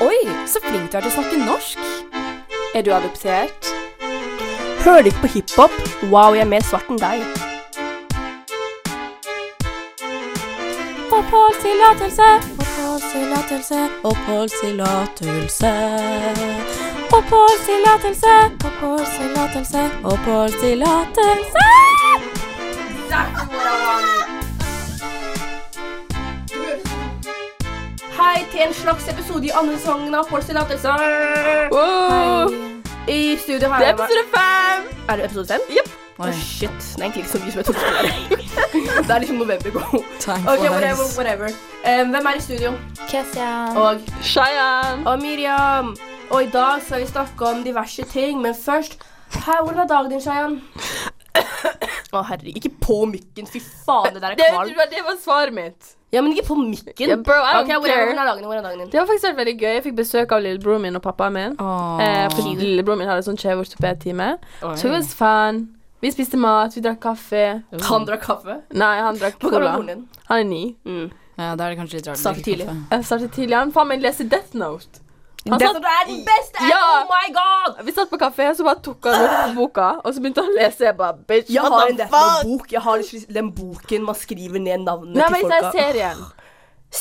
Oi, så flink du er til å snakke norsk. Er du adoptert? Hører du ikke på hiphop? Wow, jeg er mer svart enn deg. Oppholdstillatelse. Oppholdstillatelse, oppholdstillatelse. Oppholdstillatelse. Oppholdstillatelse, oppholdstillatelse. Hei til en slags episode i andre sesongen av Folks tillatelse. Wow, I studio har det er jeg med meg episode fem. Er det episode fem? Å, Oi, shit. Det er egentlig ikke så mye som jeg trodde det var. Det er liksom november go. time Ok, whatever, flies. whatever. Eh, hvem er i studio? Kessia. Og Cheyenne. Og Miriam. Og i dag skal vi snakke om diverse ting, men først Hei, hvordan er dagen din, Shayan? Å, herregud. Ikke på mykken. Fy faen, det der Det, er kvalmt. det var svaret mitt. Ja, men ikke på mykken. Ja, bro, I Ok, don't hvordan, hvordan care. er dagen din? Hvordan er dagen din? Det har faktisk vært veldig gøy. Jeg fikk besøk av lillebroren min og pappaen min. Eh, fordi lillebroren min hadde sånn kjeveortopedtime. So it was fun. Vi spiste mat, vi drakk kaffe. Han drakk kaffe. Nei, han drakk Hva var cola. broren din? Han er ni. Mm. Ja, da er det kanskje litt rart. å Starte drikke tidlig. kaffe. Jeg startet tidlig. Han faen meg leser Death Note. Han Det satt, som er den beste! Ja! Oh my god! vi satt på kafé, så bare tok han opp boka, og så begynte han å lese. Jeg bare, bitch, Jeg what har en the Death fuck? Note-bok. Jeg har liksom den boken man skriver ned navnene Nei, til men jeg folka. ser serien.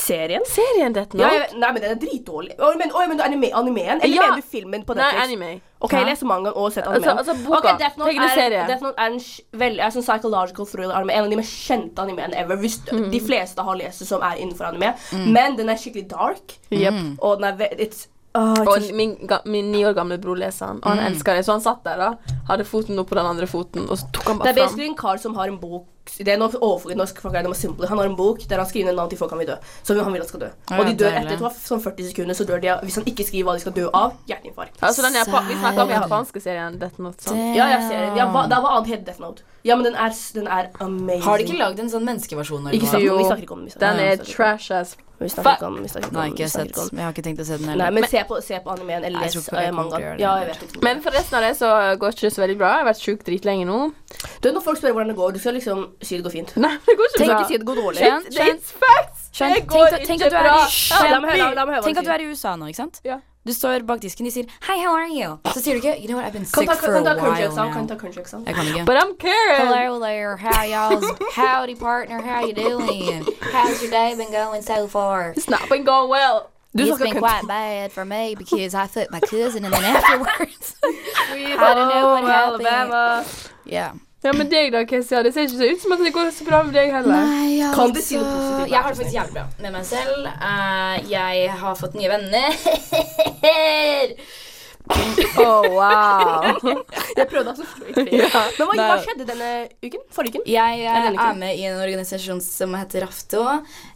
Serien? Serien Death Ja, Note? jeg, vet- nei, men den er dritdårlig. Å, men, å, men du anime, animeen? Eller Ja. mener du filmen på Nei, Netflix? anime. OK, les mangaen og sett Altså, animeen. altså boka. Ok, Death Note er, Tegneserie. Death Note er en sj- veldig, er en sånn psychological thriller anime. En av de mest kjente animeene ever. Hvis Mm. De fleste har lest det som er innenfor anime. Men den er skikkelig dark. Jep. Og den er ve it's, åh, it's Og min, ga, min ni år gamle bror leser han, og Mm. han elsker det. Så han satt der, da. Hadde foten opp på den andre foten, og så tok han Det bare er fram. basically en kar som har en bok Det er noe overfor norsk folk er det noe simpler. Han har en bok der han skriver ned navn til folk han vil dø. Som han vil at skal dø. Å, Og de ja, dør deilig. etter tror jeg, sånn 40 sekunder, så dør de av Hvis han ikke skriver hva de skal dø av, hjerteinfarkt. Altså, den japa- vi snakka om den Serien. japanske serien Death Note. Sant? Ja, jeg ser den. Ja, hva, det var annet het Death Note. Ja, men den er, s- den er amazing. Har de ikke lagd en sånn menneskeversjon? eller Ikke noe? snakk om Jo. Vi snakker ikke om den. vi snakker Den ikke om er den, vi snakker ikke om den. trash as Vi snakker ikke om, vi snakker ikke om, Nei, ikke vi snakker sett. ikke om. Jeg har ikke tenkt å se den Nei, heller. men se på, se på animeen eller Nei, jeg les tror ikke jeg eh, kommer til å mangaen. gjøre det. Ja, jeg vet ikke. Men for resten av det så går ikke det så veldig bra. Jeg har vært sjuk dritlenge nå. Du, når folk spør hvordan det går, du skal liksom si det går fint. Nei, det går ikke Tenk bra. ikke si det går dårlig. Skjønn, It's- skjønn. It's facts! Skjønn, Det tenk går at- tenk ikke at du er i- bra. Hysj, Ja, la meg høre, la meg høre hva Tenk at du du er sier. i USA nå, ikke sant? Ja. Du står bak disken, de sier Hei, how are you? Så sier du ikke You know what, I've been Kan sick ta, for a kan ta while country-eksamen. Kan now. ta country-eksamen. Jeg kan ikke. But I'm uh, Karen. Hello there, how y'all? Howdy, partner, how you doing? How's your day been going so far? It's not been going well. it's been quite bad for me because I fucked my cousin and then afterwards. I don't know what happened. yeah. Ja, men deg da, Kessia. Det ser ikke så ut som at det går så bra med deg heller. Kan du si noe positivt? Jeg har det faktisk jævlig bra med meg selv. Eh, jeg har fått nye venner. Oh, wow. Jeg prøvde altså å slå i tvil. Men hva, hva skjedde denne uken? Forrige uken? Jeg eh, denne uken. er med i en organisasjon som heter Rafto,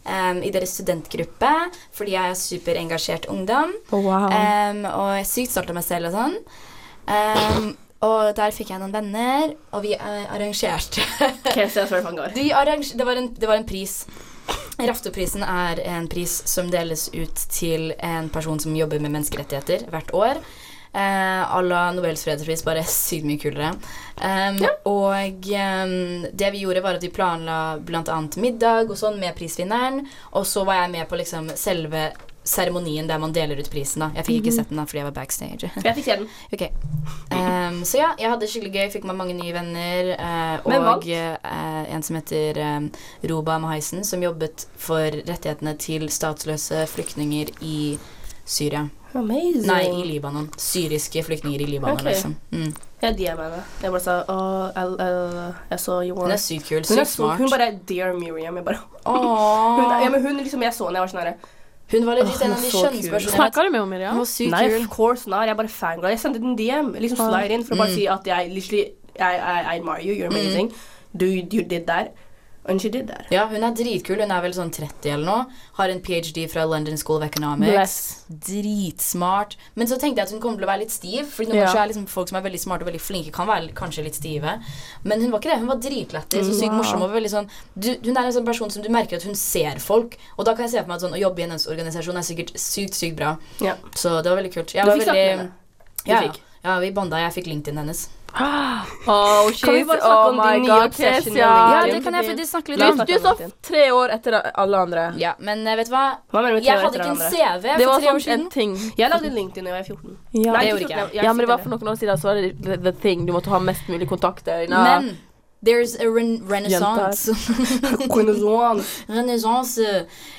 em, i deres studentgruppe, fordi jeg er superengasjert ungdom. Eh, Em, og jeg er sykt stolt av meg selv og sånn. Em, og der fikk jeg noen venner, og vi eh, arrangerte Ok, så jeg spør hva han går. De arrange, det, var en, det var en pris. Raftoprisen er en pris som deles ut til en person som jobber med menneskerettigheter hvert år. Eh, à la Nobels fredspris, bare sykt mye kulere. Em, Og em, det vi gjorde, var at vi planla bl.a. middag og sånn med prisvinneren. Og så var jeg med på liksom selve seremonien der man deler ut prisen. da Jeg fikk ikke sett den da fordi jeg var backstage. Jeg fikk se den. Ok. Em, Ehm, så ja, jeg hadde det skikkelig gøy, fikk meg mange nye venner. eh, Hvem og vant? eh, en som heter em, Roba Mahaisen, som jobbet for rettighetene til statsløse flyktninger i Syria. Amazing. Nei, i Libanon. Syriske flyktninger i Libanon, Ok. liksom. Mm. Jeg DM henne. Jeg bare sa åh, jeg, jeg, jeg så you Hun were er sykt kul. Hun er Sykt så smart. Hun bare Dear Miriam. Jeg bare Åh. hun, ja, men hun liksom, Jeg så henne, jeg var sånn herre Hun var Åh, legit hun en er av de så kul. kjønnspersonene. Snakker du med Omir, ja? Hun var sykt Nei, kul. of course not. Jeg er bare fanglad. Jeg sendte den DM. Liksom slide inn for å bare si at jeg literally I, I, I admire you. You're amazing. Du, you did that. And she did that. Ja, hun er dritkul. Hun er vel sånn 30 eller noe. Har en ph.d. fra London School of Economics. Bless. Dritsmart. Men så tenkte jeg at hun kommer til å være litt stiv. For noen Ja. ganger så er liksom folk som er veldig smarte og veldig flinke, kan være kanskje litt stive. Men hun var ikke det. Hun var dritlættis og sykt morsom. Og veldig sånn, du, hun er en sånn person som du merker at hun ser folk. Og da kan jeg se for meg at sånn, å jobbe i hennes organisasjon er sikkert sykt, sykt bra. Ja. Så det var veldig kult. Jeg Du var fikk snakke med veldig, henne. Du ja, ja. fikk. ja, vi banda. Jeg fikk LinkedIn hennes. Oh, Kan vi she's, bare snakke oh om din my nye god, obsession, Kesia. Malin? Ja, Jim, det kan jeg faktisk snakke litt Du- om. Du er så tre år etter alle andre. Ja, men eh, vet du hva? Hva mener du med tre Jeg år hadde etter ikke en hverandre? CV Det for var tre år sånn siden. en ting. Jeg lagde LinkedIn da jeg var 14. Ja. Nei, det ikke gjorde ikke 14, jeg. ja, men det var for noen år siden så var det the, the thing. Du måtte ha mest mulig kontakter. Nei. Men there's a ren renaissance. noen Renaissance.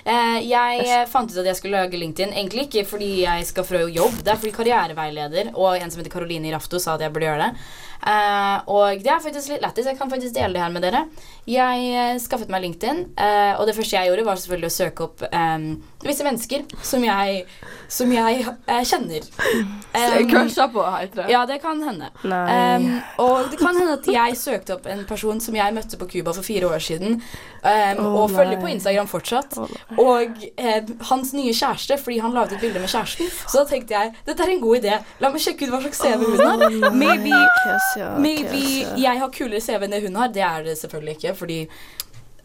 Eh, jeg eh, fant ut at jeg skulle lage LinkedIn. Egentlig ikke fordi jeg skal fra jobb, det er fordi karriereveileder og en som heter Karoline Irafto sa at jeg burde gjøre det. Eh, og det er faktisk litt lættis. Jeg kan faktisk dele det her med dere. Jeg eh, skaffet meg LinkedIn, eh, og det første jeg gjorde, var selvfølgelig å søke opp em, visse mennesker som jeg, som jeg eh, kjenner. Em, Crusha på, heter det. ja, det kan hende. Nei. Um, og det kan hende at jeg søkte opp en person som jeg møtte på Cuba for fire år siden, um, Å, og følger nei. på Instagram fortsatt. Å, og um, hans nye kjæreste, fordi han laget et bilde med kjæresten. Så da tenkte jeg dette er en god idé. La meg sjekke ut hva slags CV hun har. Maybe, maybe jeg har kulere CV enn det hun har. Det er det selvfølgelig ikke, fordi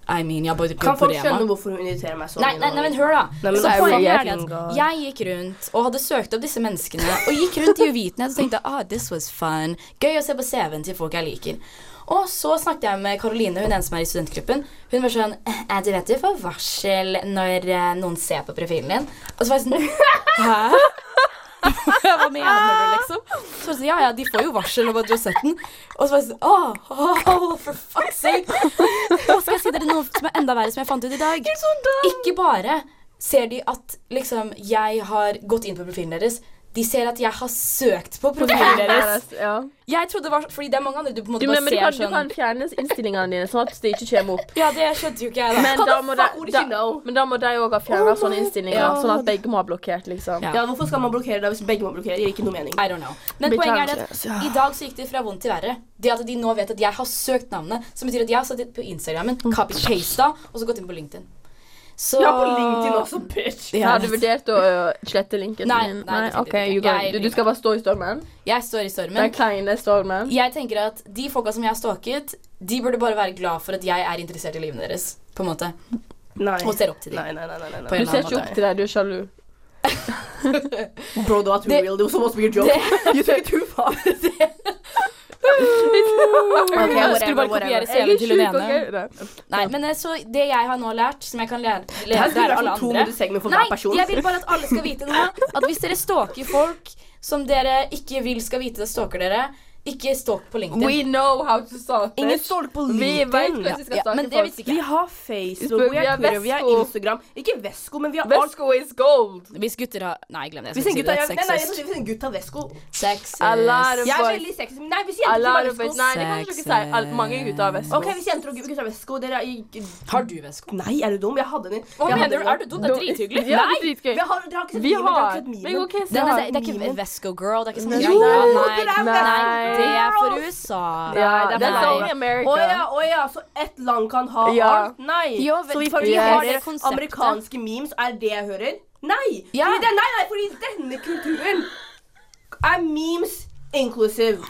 I mean, jeg bare Kan folk konkurrerer skjønne hvorfor hun irriterer meg sånn? Nei, nei, nei, men hør, da. Nei, men så det er jo poenget er det regjeringen at går. jeg gikk rundt og hadde søkt opp disse menneskene. Og gikk rundt i uvitenhet og tenkte ah, this was fun. Gøy å se på CV-en til folk jeg liker. Og så snakket jeg med Karoline, hun ene som er i studentgruppen. Hun var sånn eh, Du vet du får varsel når eh, noen ser på profilen din. Og så var jeg sånn Hæ? Hva mener du, liksom? Så var det sånn, ja, ja, de får jo varsel om at du har sett den. Og så var jeg sånn Åh, åh, for fuck's sake. Og skal jeg si dere noe som er enda verre, som jeg fant ut i dag. Ikke bare ser de at liksom jeg har gått inn på profilen deres. De ser at jeg har søkt på profilen deres. Ja. Jeg trodde det var Fordi det er mange andre du på en måte Du, men, bare men du, kan, ser du sånn kan fjerne innstillingene dine, sånn at det ikke kommer opp. Ja, det skjønte jo ikke jeg, da. Men da må de, fuck would da, she know? men da må de òg ha fjerna sånne innstillinger, God. sånn at begge må ha blokkert, liksom. Ja. Ja, Hvorfor skal man blokkere da hvis begge må blokkere? Det gir ikke noe mening. I don't know. Men Beklager, poenget er det at i dag så gikk det fra vondt til verre. Det at de nå vet at jeg har søkt navnet, som betyr at jeg har satt på Instagrammen, Mm. copy-pasta, og så gått inn på LinkedIn. Så Ja, på LinkedIn også, bitch. Ja, Har du vurdert å ø, slette linken Nei, din? nei, det tenkte jeg ok, ikke. you go. Jeg Du, du skal bare stå i stormen? Jeg står i Den stormen. kleine stormen? Jeg tenker at de folka som jeg har stalket, de burde bare være glad for at jeg er interessert i livet deres. På en måte. Nei. Og ser opp til dem. Nei, nei, nei, nei, nei, nei. Du På en ser ikke eller annen opp til deg, du er sjalu. Bro, that was Det- real. That was supposed to be a joke. You took it too far. måte. whatever, Jeg skulle bare kopiere whatever. CV-en til hun ene. det. Nei, men eh, så det jeg har nå lært, som jeg kan lære, Det her lære skulle vært lære alle sånn to andre minutter segment for Nei, hver person. jeg vil bare at alle skal vite noe. At hvis dere stalker folk som dere ikke vil skal vite det stalker dere, ikke stalk på LinkedIn. We know how to solve Ingen it. stolk på Vi vet LinkedIn. hvordan vi skal Ja, stake men det folk. visste Vi ikke har Facebook, Facebook, vi vi har har Twitter, vi har Vesko. Instagram. Ikke Vesko, men vi har alt. Vesco is gold. Hvis gutter har Nei, glem det. Hvis en gutt har nei, nei, hvis en gutt har Vesko Sexist. Alarm. Jeg er veldig sexy. men Nei, hvis Alle jenter har ikke har Vesco. Vesko Nei, det kan du ikke si. Alt- Mange gutter eh, har Vesco. Ok, hvis jenter og gutter har Vesko Dere er i Har du vesko? Nei, er du dum? Jeg hadde den i- Hva jeg hadde mener du? den i- Er du dum? Det er drithyggelig. Ja, det er dritgøy. Vi har, dere har ikke sett Vi memen, dere har. ikke sett memen. Men ok, så Det er, har- det er ikke Mimen. Vesco-girl. Det er ikke sånn Jo, greie. dere er nei, Vesco-girl! det er for USA. Ja, det det er er for only meg. America. Å ja, å ja, så ett land kan ha Ja. alt? Nei. Jo, vel- så vi, får- vi Yes. har Det det er konseptet. amerikanske memes, er det jeg hører? Nei! Ja. Fordi det, nei, nei, fordi denne kulturen er memes inclusive.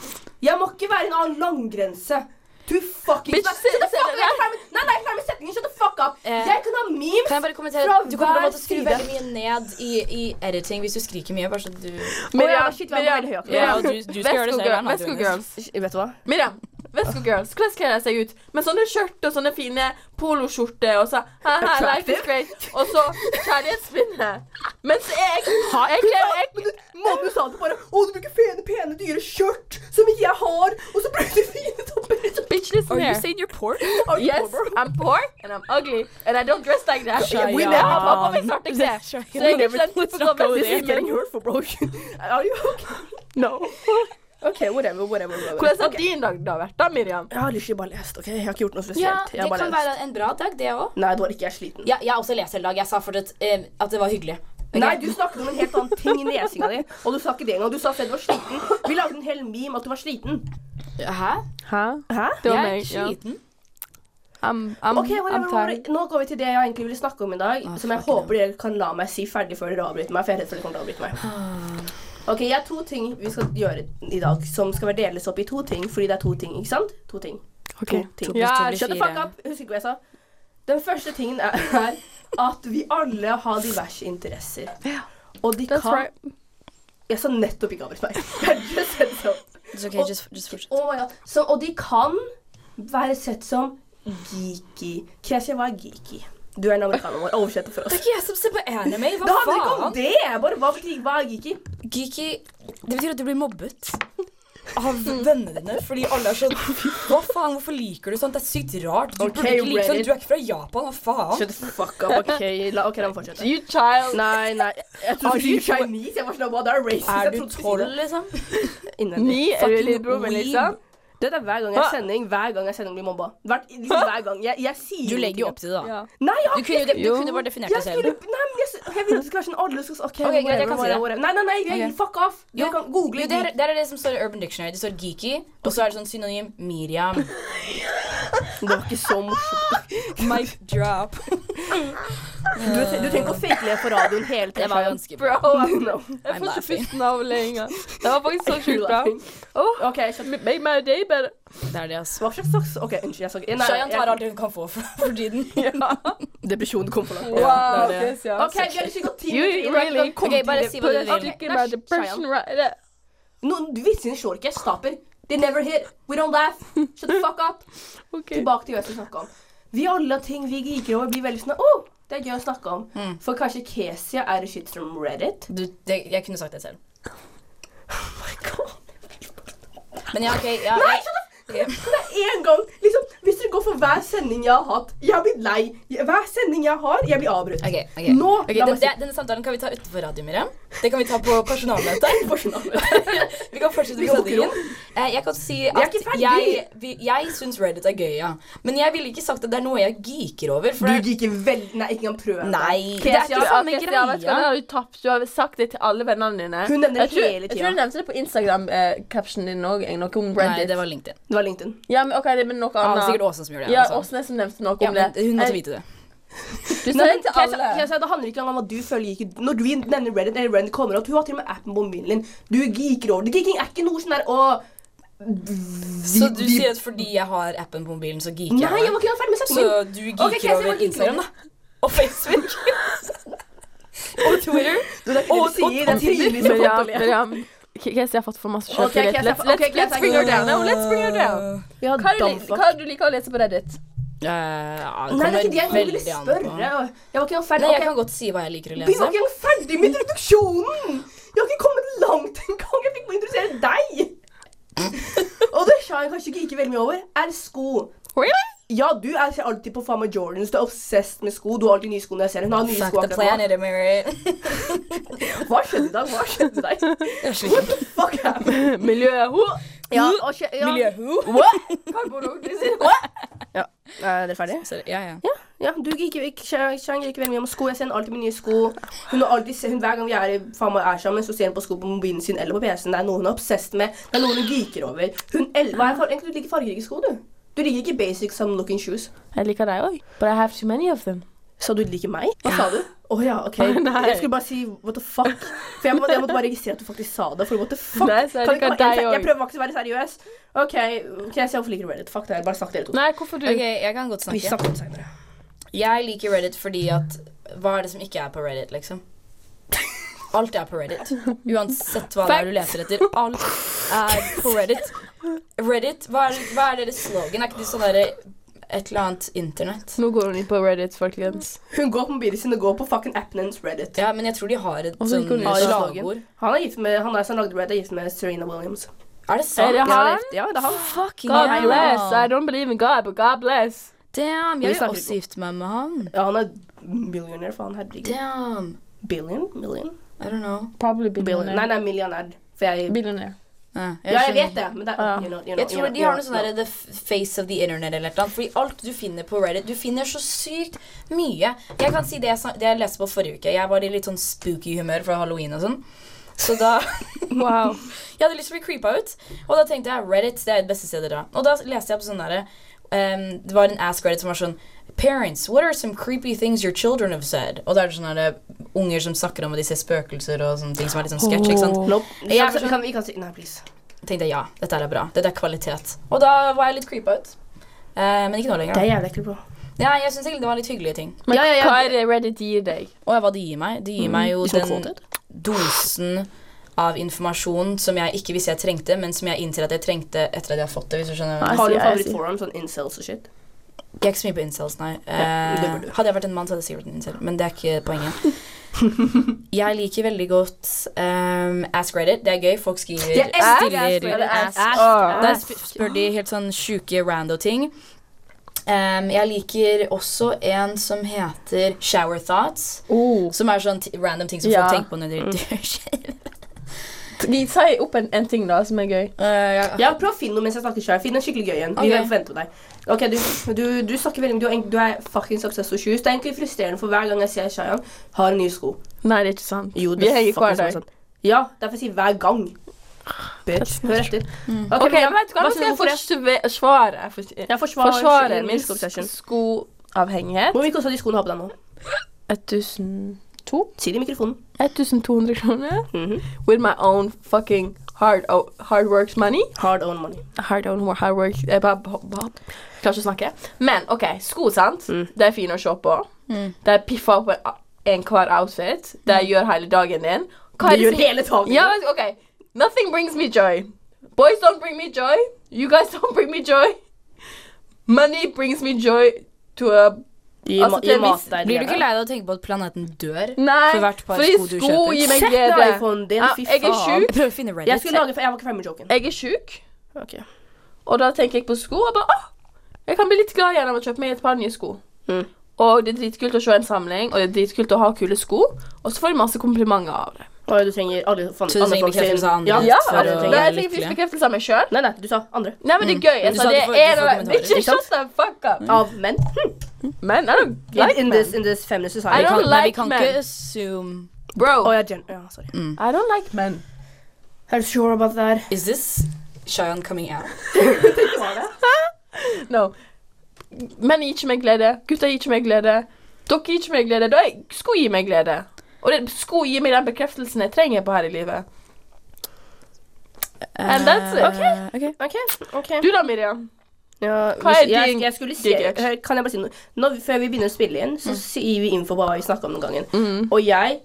Jeg må ikke være en annen langgrense. Du fucking Bitch, Shut se- the se fuck up! Jeg det er ferdig med- Nei, nei, jeg er ferdig med setningen. Shut the fuck up! Eh, Jeg kan ha memes Kan jeg bare kommentere? fra Du kommer til hver å måtte skru side. veldig mye ned i, i editing hvis du skriker mye. Bare så du Å ja, shit, vi er Miriam, veldig høyaktig. Miriam, Ja, du- du skal Vesco gjøre det selv, girl- Erna, Vesco Jonas. girls. Vet du hva? Miriam, Vesco girls, hvordan kler de seg ut? Med sånne skjørt og sånne fine poloskjorter og så Haha, life is great. Og så kjærlighetsspinne. Mens jeg Jeg kler jeg, Men du, måten du sa det på, bare Å, du bruker pene, pene, dyre skjørt som ikke jeg har, og så bruker du fine topper. Bitch, listen here. saying you're poor? Are you Yes, poor, bro? I'm poor and I'm ugly and I don't dress like that. Shut We up. never har på meg svarte klær. Så jeg er ikke den Let's typical not go there. Vesco Getting girl. hurt for broken. Are you okay? No. Okay, whatever, whatever. whatever. Hvordan har din dag da vært, da, Miriam? Jeg har literally bare lest, ok? Jeg har ikke gjort noe spesielt. Ja, jeg det har bare kan lest. være en bra dag, det òg. Nei, det var ikke jeg er sliten. Ja, jeg har også lest hele dag. Jeg sa for at, eh, at det var hyggelig. Ok? Nei, du snakket om en helt annen ting i nesinga di, og du sa ikke det engang. Du sa selv du var sliten. Vi lagde en hel meme at du var sliten. Hæ? Hæ? Hæ? Det var jeg er meg. ikke Ja. sliten. I'm, I'm, Ok, whatever, I'm tired. whatever. Nå går vi til det jeg egentlig ville snakke om i dag, Ah, som jeg fuck håper dere kan la meg si ferdig før dere avbryter meg. For jeg er redd for dere kommer til å avbryte meg. Ok, Jeg har to ting vi skal gjøre i dag, som skal være deles opp i to ting. Fordi det er to ting, ikke sant? To ting. Ok. To ting. Ja, blir Shut the fire. fuck up! Husker ikke hva jeg sa. Den første tingen er, er at vi alle har diverse interesser. Og de That's kan right. Jeg sa nettopp ikke sånn. avbryt meg. Jeg just said so. It's okay, Og- just, just fortsett. Oh my God. Så, og de kan være sett som geeky. Keshi, hva er geeky? Du er en amerikaner, Mår. Oversett det for oss. Det er ikke jeg som ser på anime! Det Hva handler ikke om faen? det! Bare hva, betyr- hva er geeky? Geeky Det betyr at du blir mobbet. Av vennene dine, fordi alle er sånn Hva faen, hvorfor liker du sånt? Det er sykt rart. Du Ok, burde ikke like sånt. Reddit. Du er ikke fra Japan, hva faen? Shut the fuck up. OK, la, ok, la meg fortsette. You child. Nei, nei. Jeg Are trodde you ikke Chinese. Jeg var sånn, hva, det er racist. Er Jeg du trodde ikke tolv, det. liksom? Innvendig. Ni er Fucking lillebror min, liksom. Det er hver gang jeg er sending, hver gang jeg er sending blir mobba. Hvert, liksom, hver gang. Jeg, jeg sier Du legger ingenting. jo opp til det, da. Ja. Nei, jeg har Du kunne, jo- du Jo. kunne bare definert Jeg deg selv. skulle, nei, men jeg, s- jeg ville det skulle være sånn alle skal OK, greit, jeg whatever, kan si whatever, det. whatever. Nei, nei, nei, jeg, Ok. fuck off. Du Jo, kan google Jo, det, er, det er det som står i Urban Dictionary. Det står geeky, og så er det sånn synonym Miriam. Det var ikke så morsomt. Mic drop. Du, du trenger ikke å fake ned på radioen hele Det tiden. var ganske bra. Bro, jeg No. jeg får ikke I'm laughing. pusten av lenger. Det var faktisk så sjukt bra. Oh, OK, shut up. make my day better. Det er det, altså. Hva slags slags OK, unnskyld. Jeg sa ikke nei, Shayan tar jeg- alt hun kan få for, for tiden. Depresjonen kom for langt. Wow, det er det. Christian. OK, vi har ikke gått ti You minutter inn, really kom Ok, til bare det. si hva Put du a vil. stick in my depression right there. No, du visste ikke shortcut. Stop it. They never hit. We don't laugh. Shut the fuck up. Ok. Tilbake til hva jeg skulle snakke om. Vi alle har ting vi geeker over, blir veldig sånn oh, det er gøy å snakke om. Mm. For kanskje Kesia er i shitstorm Reddit? Du, det, jeg kunne sagt det selv. Oh Men ja, OK. Ja, Nei, jeg, shut up! Det er én gang. Liksom, hvis dere går for hver sending jeg har hatt Jeg har blitt lei. Hver sending jeg har, jeg blir avbrutt. Ok, ok. Nå Ok, la den, meg si den- denne samtalen kan vi ta utenfor radio, Miriam. Det kan vi ta på personalmøtet. vi kan fortsette Vi med snakker sendingen. om- Eh, Jeg kan si er at ikke ferdig. jeg, vi- jeg syns Reddit er gøy, ja. Men jeg ville ikke sagt at det er noe jeg geeker over. For Du det er- geeker veldig Nei, ikke engang prøv. Nei, det Jeg er tror- ikke samme jeg tror- jeg vet hva, det greia. har Du tapt. Du har sagt det til alle vennene dine. Hun nevner Jeg det tror- hele Jeg tror du tida. nevnte det på Instagram-captionen din òg. Noe om Nei, Reddit. det var LinkedIn. Det var LinkedIn. Ja, men ok, det er men noe Ja, det var annet. sikkert Åsen som gjorde det. Ja, altså. Åsne som nevnte noe Ja, om det. men hun måtte Jeg- vite det. Du sa Nei, det men til Kesia- alle. Kesia, det handler ikke engang om at du føler geeker. Når du nevner Reddit eller Reddit kommer opp, hun har til og med appen på mobilen din. Du geeker over. det. Geeking er ikke noe sånn der å Så du sier at fordi jeg har appen på mobilen, så geeker Nei, jeg jeg? var ikke ferdig med Så setningen. du Ok, geeker Casey, hva over geeker Instagram, du? da? Og Facebook? og Twitter? Du, det er ikke det Og- du sier. Det og- er tydelig som Miriam, kontrollert. Miriam. Kesia har fått for masse Ok, sjøltillit. Kesia, Let's, ok, let's, Kesia, let's bring her down. Nå, No, let's bring her down. Ja, Hva er det du- damfuck. hva er det du liker å lese på Reddit? Eh, Nei, det ja, er kommer ikke det jeg ville veldig an spørre. på. Jeg var ikke engang ferdig. Nei, jeg Ok, kan godt si hva jeg liker å Vi var ikke lese. engang ferdig med introduksjonen! Jeg har ikke kommet langt engang. Jeg fikk bare introdusere deg. Og det sa jeg kanskje ikke gikk veldig mye over, er sko. Really? Ja, du er ser alltid på faen meg Jordans. Du er obsessed med sko. Du har alltid nye sko når jeg ser deg. Hun har nye Fuck sko the akkurat nå. planet, Mary. Hva skjedde i dag? Hva skjedde i dag? Jeg What sliter. the fuck happened? Miljøet. Ho! Ja, og skje, ja. Miljø-who? Er dere ferdige? Sorry, Ja, ja. Ja, du gikk jo ikke, Shang Shang gikk veldig mye om sko. Jeg ser henne alltid med nye sko. Hun har alltid, se- hun, hver gang vi er, i- faen meg er sammen, så ser hun på sko på mobilen sin eller på PC-en. Det er noe hun er obsessed med. Det er noe hun geeker over. Hun el- Hva er far- egentlig, Du liker fargerike sko, du. Du liker ikke basic some looking shoes. Jeg liker deg òg, but I have too many of them. Sa du liker meg? Hva sa du? Å ja, OK. Nei. Jeg skulle bare si what the fuck. For jeg, må, jeg måtte bare registrere at du faktisk sa det. For what the fuck? Nei, så Kan jeg vi liker ikke være- deg jeg, jeg også. prøver faktisk å være seriøs. OK, ok, jeg ser hvorfor liker du Reddit. Fuck det her. Bare snakk dere to. Nei, hvorfor du? Ok, jeg kan godt Vi snakke. snakker om det senere. Jeg liker Reddit fordi at Hva er det som ikke er på Reddit, liksom? Alt er på Reddit. Uansett hva det er du leter etter. Alt er på Reddit. Reddit, hva er, hva er deres slogan? Er ikke det sånn derre et eller annet internett? Nå går hun inn på Reddit, folkens. Hun går på mobilen sin og går på fucking appen hennes Reddit. Ja, men jeg tror de har et Og så sånn gikk hun ut. slagord. Han er gift med, han er som lagde Red, er gift med Serena Williams. Er det Er sant? det han? Ja, det er han. Fucking God hell. bless. I don't believe in God, but God bless. Damn, Vi jeg vil snakker også gifte meg med han. Ja, han er millionær, faen. Herregud. Damn. Billion? Million? I don't know. Probably Billion. Nei, nei, millionær. For jeg Billionaire. Eh, Ja, jeg skjønner. vet det, men det Ah, ja. er you know, you know, Jeg tror you know, de har you noe know. sånn derre The f- face of the internet eller noe. Fordi alt du finner på Reddit Du finner så sykt mye. Jeg kan si det jeg, sa- det jeg leste på forrige uke. Jeg var i litt sånn spooky humør fra halloween og sånn. Så da Wow. Jeg hadde lyst til å bli creepa ut. Og da tenkte jeg Reddit det er det beste stedet å dra. Og da leste jeg på sånn derre ehm, Det var en Ask Reddit som var sånn Parents, what are some creepy things your children have said? Og da er det sånne der, unger som snakker om at de ser spøkelser og sånne ting som er litt sånn sketsj. ikke sant? Nope. Jeg Ja, er kan, kan vi kan si Nei, please. tenkte jeg ja, dette er bra. Dette er kvalitet. Og da var jeg litt creepa ut. Eh, men ikke nå Det lenger. er jævlig ekkelt, bro. Ja, jeg syns egentlig det var litt hyggelige ting. Men Ja, ja, ja. hva er det Reddit gir deg? Mm, Og hva det gir meg? Det gir meg jo Litt sånn den kåthet. dosen av informasjon som jeg ikke visste jeg trengte, men som jeg innser at jeg trengte etter at jeg har fått det. hvis du skjønner. hva jeg mener. Har du sier- en jeg sier- favorittforum? Sånn incels og shit? Jeg er ikke så mye på incels, nei. Ja, det burde du. Eh, hadde jeg vært en mann, så hadde jeg sikkert vært en incel, men det er ikke poenget. Jeg liker veldig godt ehm, Ask Reddit. Det er gøy. Folk skriver Jeg elsker Ask stiller, Reddit. ask, Ask. Der sp spør de helt sånn sjuke rando-ting. Ehm, jeg liker også en som heter Shower Thoughts. Oh. Som er sånn t random ting som Ja. Mm. folk tenker på når de dusjer. Si opp en, en ting, da, som er gøy. Eh, ja. Ja, prøv å finne noe mens jeg snakker sjøl. Finn en skikkelig gøy en. Vi Ok. okay. forventer deg. Ok, du, du, du snakker veldig du, er en- du er fucking success og shoes. Det er egentlig frustrerende, for hver gang jeg ser Shayan, har en ny sko. Nei, det er ikke sant. Jo, Vi henger fucking hver som er dag. sant. Ja, derfor sier jeg hver gang. Bitch. Hør etter. Ok, Mm. Ok, men jeg vet hva, hva Nå skal synes jeg du om det? forsvare forsvare- Jeg forsvarer, Forsvare min skoobsession. skoavhengighet. Hvor mye kosta de skoene du har på deg nå? 1000 Si det i mikrofonen. 1200 kroner. Mhm. With my own fucking hard, o- hard works money. Hard on money. Hard own wo- hard work Jeg bare ba- ba- klarer ikke å snakke. Men OK, sko, sant. Mm. De er fine å se på. Mm. De piffer opp en- enhver outfit. De gjør hele dagen din. Hva er Det Mm. det gjør som- hele dagen. Ja, men, OK. Nothing brings me joy. Boys don't bring me joy. You guys don't bring me joy. Money brings me joy to a I, altså, ma- til i en mat viss- der. Blir du ikke lei deg av å tenke på at planeten dør? Nei, For hvert par fordi sko du kjøper. gir meg Sett glede. deg iPhonen din, Ja, fy Jeg er faen. sjuk. Prøv å finne Reddit. Jeg skulle lage Jeg var ikke ferdig med joken. Jeg er sjuk, Ok. og da tenker jeg på sko. Og bare, åh, jeg kan bli litt glad igjen av å kjøpe meg et par nye sko. Mm. Og det er dritkult å se en samling, og det er dritkult å ha kule sko. Og så får jeg masse komplimenter av det. Oi, du trenger alle faen- Så du andre trenger folk sin- bekreftelse av andre Ja, Ja, altså, for å- det, være jeg fikk lykkelig. bekreftelse av meg sjøl. Nei, nei, du sa andre. Nei, men det er gøy. Jeg Du sa sa du det får- du er får kommentarer, Bitch, ikke shut the fuck up. Av menn. Men I don't In, like in, men. this, in this feminist I Vi society. don't kan, nei, vi like kan men. ikke assume Å, Bro, ja, gen ja, sorry. I don't like men. Are you sure about that? Is this Shayan coming out? No. Menn gir ikke meg glede. Gutter gir ikke meg glede. Dere gir ikke meg glede. Da jeg, sko gir meg glede. Og det, sko gir meg den bekreftelsen jeg trenger på her i livet. And that's it. Eh, ok. Ok, ok. Du da, Miriam? Ja, Hva hvis- er jeg, din- jeg skulle si, din catch? hør, kan jeg bare si noe? Nå, før vi begynner å spille inn, så sier vi info på hva vi snakket om den gangen. Og jeg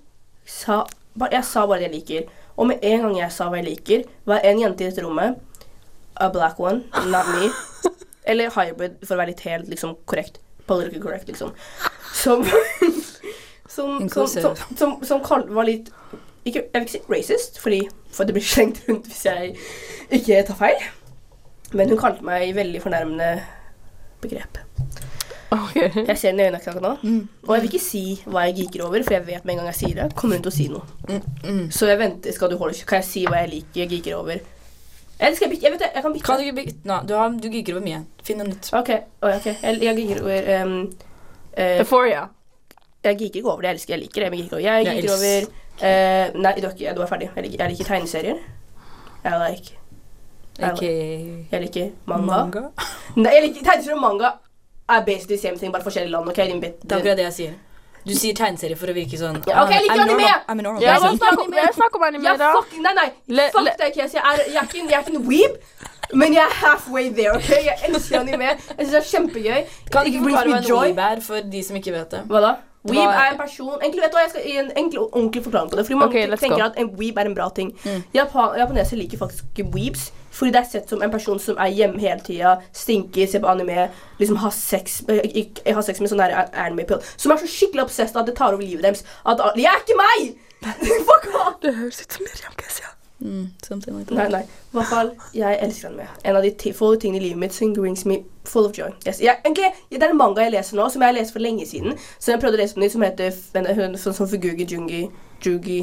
sa, bare, jeg sa bare det jeg liker. Og med en gang jeg sa hva jeg liker, var en jente i dette rommet, a black one, not me, eller hybrid, for å være litt helt liksom, korrekt, politically correct, liksom, som, som, som, som, Inclusive. som, som kall- var litt, ikke, jeg vil ikke si racist, fordi for det blir slengt rundt hvis jeg ikke tar feil. Men hun kalte meg i veldig fornærmende begrep. Ok. Jeg ser den i øynene akkurat nå. Mm. Og jeg vil ikke si hva jeg geeker over, for jeg vet med en gang jeg sier det, kommer hun til å si noe. Mm, Så jeg venter, skal du holde Kan jeg si hva jeg liker, jeg geeker over? Eller skal jeg bytte? Jeg vet det, jeg kan bytte. Kan du ikke bytte Nå, du, har, du gigger over mye. Finn noe nytt. Ok, oi, ok. Jeg, jeg geeker over ehm, eh, Euphoria. Jeg geeker ikke over det jeg elsker. Jeg liker det, men geeker over. Jeg Jeg geeker over eh, Nei, du er, ikke, du er ferdig. Jeg liker, jeg liker tegneserier. Jeg liker, Ikke jeg liker manga. Nei, jeg liker tegneserier og manga. Er basically same thing, bare forskjellige land. ok? Din bit, Det er akkurat det jeg sier. Du sier tegneserie for å virke sånn Ja, ok, jeg liker I'm normal. anime! I'm a normal Ja, hva person. snakker om, jeg snakker om anime, Ja, da? fuck, nei, nei. Le- fuck le- deg, Kes. Jeg er, jeg, er ikke en, jeg er ikke en weeb, men jeg er halfway there. ok? Jeg elsker anime. Jeg synes det er kjempegøy. Kan du It ikke brings forklare me hva en joy. weeb er for de som ikke vet det? Hva da? Weeb Hva- er en person Egentlig vet du hva, Jeg skal gi en enkel og ordentlig forklaring på det. Fordi Mange Ok, let's tenker go. at en weeb er en bra ting. Japan Japanesere liker faktisk ikke weebs. Fordi det er sett som en person som er hjemme hele tida, stinker, ser på anime, liksom har sex, eh, ikk- har sex med sånn der anime pill. Som er så skikkelig obsessed at det tar over livet deres. At Jeg er ikke meg! Fuck off! Det høres ut som Miriam Kesia. Mm, something like Nei, that. nei. I hvert fall, jeg elsker anime. En av de ti få tingene i livet mitt som brings me full of joy. Yes. Jeg, egentlig, det er en manga jeg leser nå, som jeg har lest for lenge siden. Som jeg prøvde å lese på nytt, som heter f- en- hun sånn som Fugugi Jungi Jugi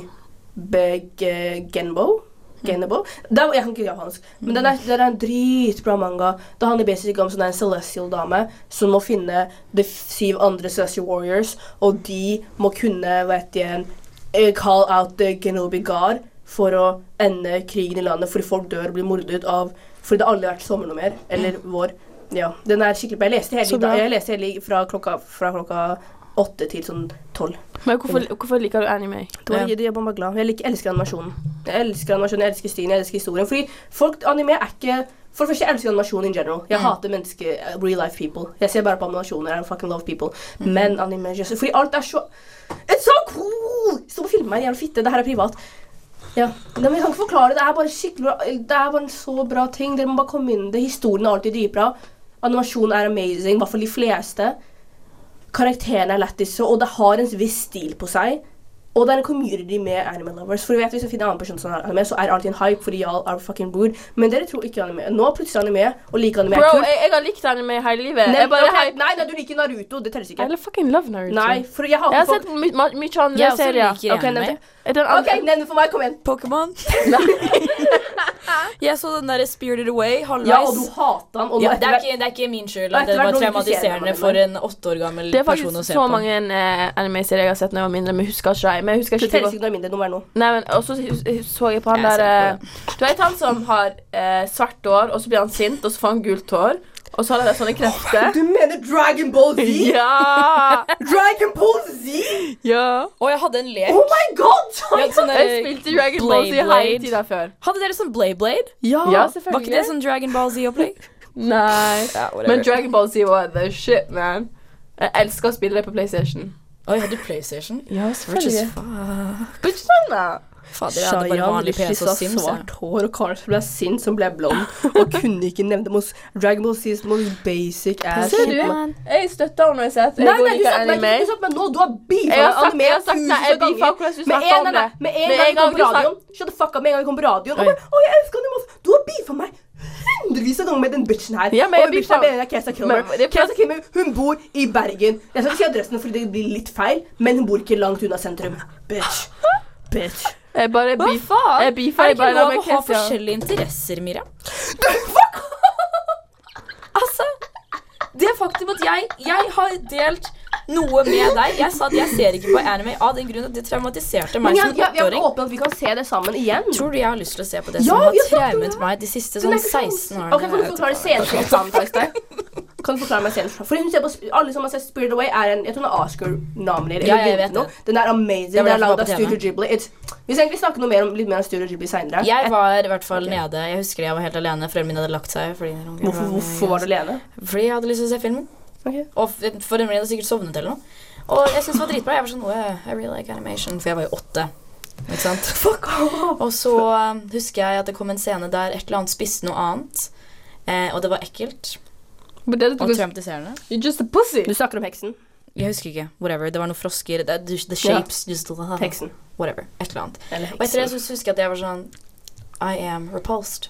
Beg Genbo. Genebo. Det er, jeg kan ikke japansk, men den er, den er en dritbra manga. Det handler basically om sånn der en celestial dame som må finne de f- syv andre celestial warriors, og de må kunne, vet jeg, eh, call out the Genobi Guard for å ende krigen i landet fordi folk dør og blir mordet av Fordi det har aldri vært sommer noe mer. Eller vår. Ja. Den er skikkelig bra. Jeg leste hele, Så i dag- bra. jeg leste hele i- fra, klokka, fra klokka åtte til sånn tolv. Men hvorfor, hvorfor liker du anime? Det var det jeg var bare glad. Jeg liker, elsker animasjonen. Jeg elsker animasjonen, jeg elsker stilen, jeg elsker historien. Fordi folk, anime er ikke For det første, jeg elsker animasjon in general. Jeg hater mennesker, eh, real life people. Jeg ser bare på animasjoner. I fucking love people. Men anime just, Fordi alt er så It's so cool! Stå og film meg, jævla fitte. Det her er privat. Ja. Nei, men jeg kan ikke forklare det. Det er bare skikkelig bra. eh, Det er bare en så bra ting. Dere må bare komme inn i det. Historien er alltid dritbra. Animasjonen er amazing, i hvert fall de fleste. Karakterene er lættis, og det har en viss stil på seg. Og det er en community med anime lovers. For du vet, Hvis du finner en annen person som har anime, så er det alltid en hype. fordi y'all are fucking rude. Men dere tror ikke anime. Nå er plutselig anime og liker anime. er Bro, kult. jeg, jeg har likt anime hele livet. Nei, jeg bare ok, hype. nei, nei, du liker Naruto. Det telles ikke. Eller fucking love Naruto. Nei, for jeg Jeg har hater sett my- ma- mye andre Jeg også serier. liker Ok, nevn anime. Den andre, OK, nevn det for meg. Kom igjen. Pokémon. jeg så den derre Spirited Away. Halvveis. Ja, og du hater han. Og Ja, nå det, etter er hvert ikke, det er ikke min skyld Og at etter det hvert var nå liker traumatiserende serien for meg. en åtte år gammel det er person å faktisk se så på. mange eh, anime-serier jeg har sett da jeg var mindre, men jeg husker ikke dem. Men jeg husker Det ikke telles tilbake- ikke når mindre. Nå er nå. Nei, men også hus- så jeg på han Jeg ser der på eh, Du vet han som har eh, svart hår, og så blir han sint, og så får han gult hår, og så har han sånne krefter? Du mener Dragon Ball Z? Ja! Dragon Ball Z? ja. Og jeg hadde en lek. Oh my god! Jeg hadde, sånn Jeg der- spilte Dragon Ball Z Blade hele Blade. tida før. hadde dere sånn Blade Blade? Ja, Var ikke det selvfølgelig. sånn Dragon Ball Z-opplegg? Nei. Ja, whatever. Men Dragon Ball Z var the shit, man. Jeg elsker å spille det på PlayStation. Oi, hadde du PlayStation? Ja, Which is fuck. Bitch, sånn, da. Fader, jeg hadde bare Shayan vanlig Rishi PC og sa Sims. jeg. svart hår, og Carl som ble sint, som ble blond. Og kunne ikke nevne mos Dragon Ball Z's most basic ass Ser shit, du? man. Jeg støtter henne uansett. Nei, Jeg går nei, du ikke sa nei, anime. du sa men nå, du har beefa Jeg har sagt- anime jeg har sagt nei, jeg tusen beefa ganger. akkurat hvis Med du snakker en, om nei, nei, det. med en Med gang en du kom gang på du sa- radioen Shut the fuck up, med en gang du kom på radioen. Og Nei. bare, å, jeg elsker anime. Du har beefa meg hundrevis av ganger med den bitchen her. Ja, men jeg og den bitchen er beefa- bedre enn Kesa Kilmer. Men det- Kesa Kilmer, hun bor i Bergen. Jeg skal ikke si adressen fordi det blir litt feil, men hun bor ikke langt unna sentrum. Bitch. Bitch. Jeg bare Hva beef- faen? jeg beefa i er det ikke beina lov med å ha Kesia. forskjellige interesser, Mira? altså, det faktum at jeg, jeg har delt noe med deg Jeg sa at jeg ser ikke på anime av den grunn at det traumatiserte Men meg jeg, som jeg, jeg åtteåring. håper at vi kan se det sammen igjen. Tror du jeg har lyst til å se på det Ja, som har vi har snakket om traumet meg de siste Den sånn er ikke så- 16 Ok, Kan du årene? forklare scenen til eksamen? Øystein? Kan du forklare meg scenen? For hun ser på, sp- Alle som har sett Spirit Away, er en, jeg tror hun er Oscar-nominert. Ja, eller jeg vinner vet noe. det. Den er amazing. Det var Den er derfor laget av jeg var Studio på TV. Ghibli. It's, vi skal egentlig snakke noe mer om, litt mer om Studio Ghibli seinere. Jeg var i hvert fall nede. Jeg husker jeg var helt alene. Foreldrene mine hadde lagt seg. Fordi, Hvorfor, hvorfor var du alene? fordi jeg hadde lyst til å se filmen. Ok. Og f- foreldrene mine hadde sikkert sovnet eller noe. Og jeg syntes det var dritbra. Jeg var sånn, wow, I really like animation. For jeg var jo åtte. Ikke sant? Fuck off! Og så um, husker jeg at det kom en scene der et eller annet spiste noe annet. Eh, og det var ekkelt. But that's Og because traumatiserende. you're just a pussy. Du snakker om heksen. Jeg husker ikke. Whatever. Det var noen frosker. Det, the, the shapes just Heksen. Whatever. Et eller annet. Eller Og etter Ah. det heksen. så husker jeg at jeg var sånn I am repulsed.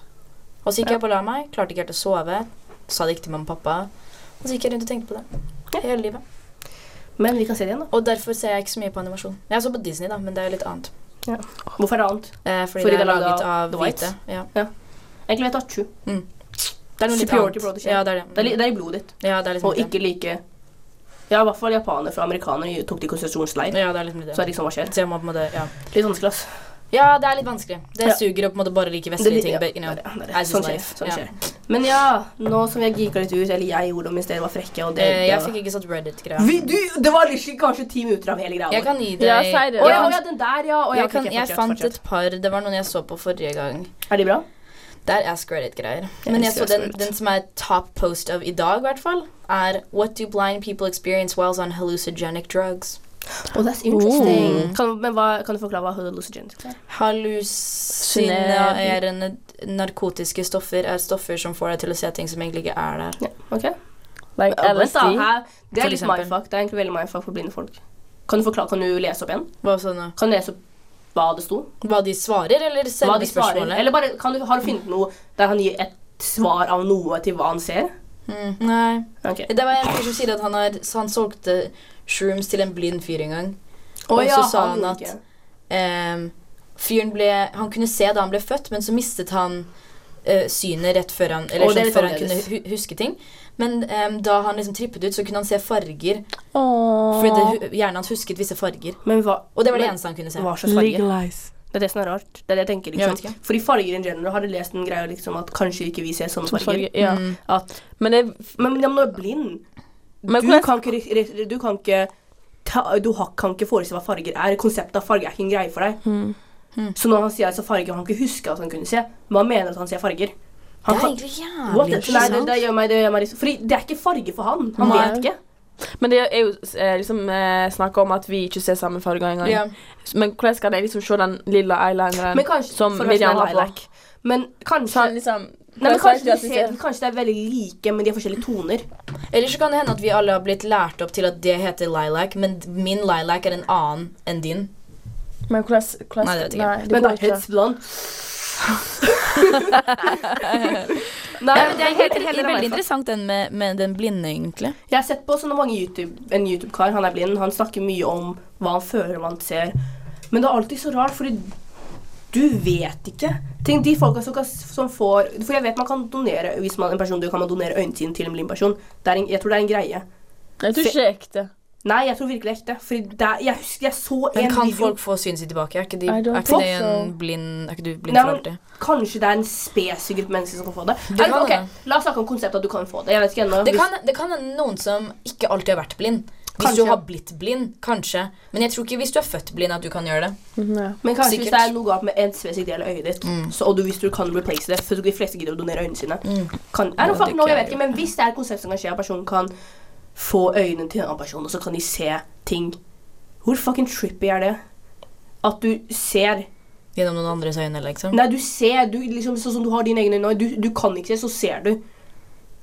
Og så gikk jeg opp og la meg. Klarte ikke helt å sove. Sa det ikke til mamma og pappa. Og så gikk jeg rundt og tenkte på det. Ja. Hele livet. Men vi kan se det igjen, da. Og derfor ser jeg ikke så mye på animasjon. Jeg så på Disney, da, men det er jo litt annet. Hvorfor er det annet? Eh, fordi, Fordi det er det er laget laget av av The Whites. hvite. Ja. Egentlig vet jeg at sju. Det er noe litt Superiority annet. production. Ja, det er det. Det er, li- det er i blodet ditt. ja, det er liksom Og litt ikke like Ja, i hvert fall japanere fra amerikanere tok de det. konsentrasjonsleir. Ja, det er liksom litt det. Så er det liksom hva skjer. Så jeg må på en måte, ja. Litt vanskelig, ass. ja, det er litt vanskelig. Det Ja. suger å på en måte bare like Det er vestlige litt- ting. ja, but, you know. det er det. as is Sånn skjer. life. Sånn Ja. skjer. Men ja, nå som jeg geeka litt ut, eller jeg gjorde det mens dere var frekke og det, Eh, det jeg var- fikk ikke satt Reddit-greia. vi, du, det var liksom kanskje ti minutter av hele greia. Jeg kan gi deg Ja, si det. Å Og ja, jeg, å ja, kan, den der, ja. Å, ja, jeg, ok, kan, ok, jeg fortsett, fant fortsett. et par Det var noen jeg så på forrige gang. Er de bra? Det er Ask Reddit-greier. Jeg Men jeg elsker så Ask den, Reddit. den som er top post of i dag, i hvert fall, er What do blind people experience while on hallucinogenic drugs? Oh, that's interesting. Kan, men hva, kan du forklare hva hallucinogenics er? Hallusinerende narkotiske stoffer er stoffer som får deg til å se ting som egentlig ikke er der. Ja, ok. Like Vent da, her- Det For er litt eksempel. mindfuck. Det er egentlig veldig mindfuck for blinde folk. Kan du, forklare, kan du lese opp igjen? Hva, så nå? Kan du lese opp hva det sto? Hva de svarer, eller Hva selve de svarer? spørsmålet? Eller bare, kan du, har du funnet noe der han gir et svar av noe til hva han ser? Mm, nei. Ok. Det var en fyr som sier at han, har, så han solgte shrooms til en blind fyr en gang. Å Og ja, så sa han gjorde at- ikke. Ehm, fyren ble Han kunne se da han ble født, men så mistet han eh, synet rett før han Eller Å, det er sånn litt før han kunne annerledes. hu huske ting. Men ehm, da han liksom trippet ut, så kunne han se farger. Fordi det, Åh. hu- hjernen hans husket visse farger. Men hva Og det var det men- eneste han kunne se. Hva slags farge? Legalize. Det er det som er rart. Det er det jeg tenker, Jeg liksom. vet ikke. Fordi farger in general har du lest en greie liksom, at kanskje ikke vi ser sånne Som farger. farge, ja. Mm. At, Men jeg men men når du er blind Men du, hvordan- kan ikke, re- re- du kan ikke ta, Du har, kan ikke forestille deg hva farger er. Konseptet av farge er ikke en greie for deg. Så når han sier altså farger han ikke husker at han kunne se, men han mener at han ser farger. Det Han er kan, what, egentlig jævlig the- nei, det, interessant. det gjør meg, det gjør meg liksom Fordi det er ikke farge for han. Han Nei. vet ikke. Men det er jo eh, liksom eh, snakk om at vi ikke ser samme farger engang. Ja. Men hvordan skal de liksom se den lilla eyelineren Men kanskje, som for å være Miriam sånn har på? lilac. Men kanskje Sånn, liksom, Nei, men hvordan kanskje, skal de jeg si at ser, vi ser- kanskje de er veldig like, men de har forskjellige toner. Eller så kan det hende at vi alle har blitt lært opp til at det heter lilac, men min lilac er en annen enn din. Men hvordan, hvordan Nei, det vet jeg Nei, ikke. det Men går da ikke. hetsblond. Nei, Ja, men det er helt, helt- helt, helt- veldig interessant den med, med den blinde, egentlig. Jeg har sett på sånne mange YouTube, en YouTube-kar, han er blind, han snakker mye om hva han føler og hva han ser. Men det er alltid så rart, fordi du vet ikke. Tenk de folka som, kan- som får For jeg vet man kan donere hvis man er en person dør, kan man donere øynene sine til en blind person. Det er en, jeg tror det er en greie. Jeg tror ikke det er ekte. Nei, jeg tror virkelig ekte. Fordi det er, jeg husker jeg så en Men kan video folk få synet sitt tilbake? Er ikke, de, I er don't ikke det think en so. blind Er ikke du blind Nei, for men- alltid? Kanskje det er en spesifikk gruppe mennesker som kan få det. Det Eller, kan ok, hende. La oss snakke om konseptet at du kan få det. Jeg vet ikke ennå. Det Hvis- kan, det kan hende noen som ikke alltid har vært blind. Hvis Kanskje. du har blitt blind, kanskje. Men jeg tror ikke hvis du er født blind, at du kan gjøre det. Mm, Men kanskje hvis det Sikkert. Mm. er noe galt med en spesifikk del av øyet ditt, så, og du, hvis du kan replace det For de fleste gidder å donere øynene sine. Kan, er det Ja, det fuck, no, jeg kan vet ikke, men Hvis det er et konsept som kan skje, at personen kan få øynene til en annen person, og så kan de se ting Hvor fucking trippy er det? At du ser Gjennom noen andres øyne, liksom. Nei, du ser du, liksom, Sånn som du har dine egne øyne nå, du, du kan ikke se, så ser du.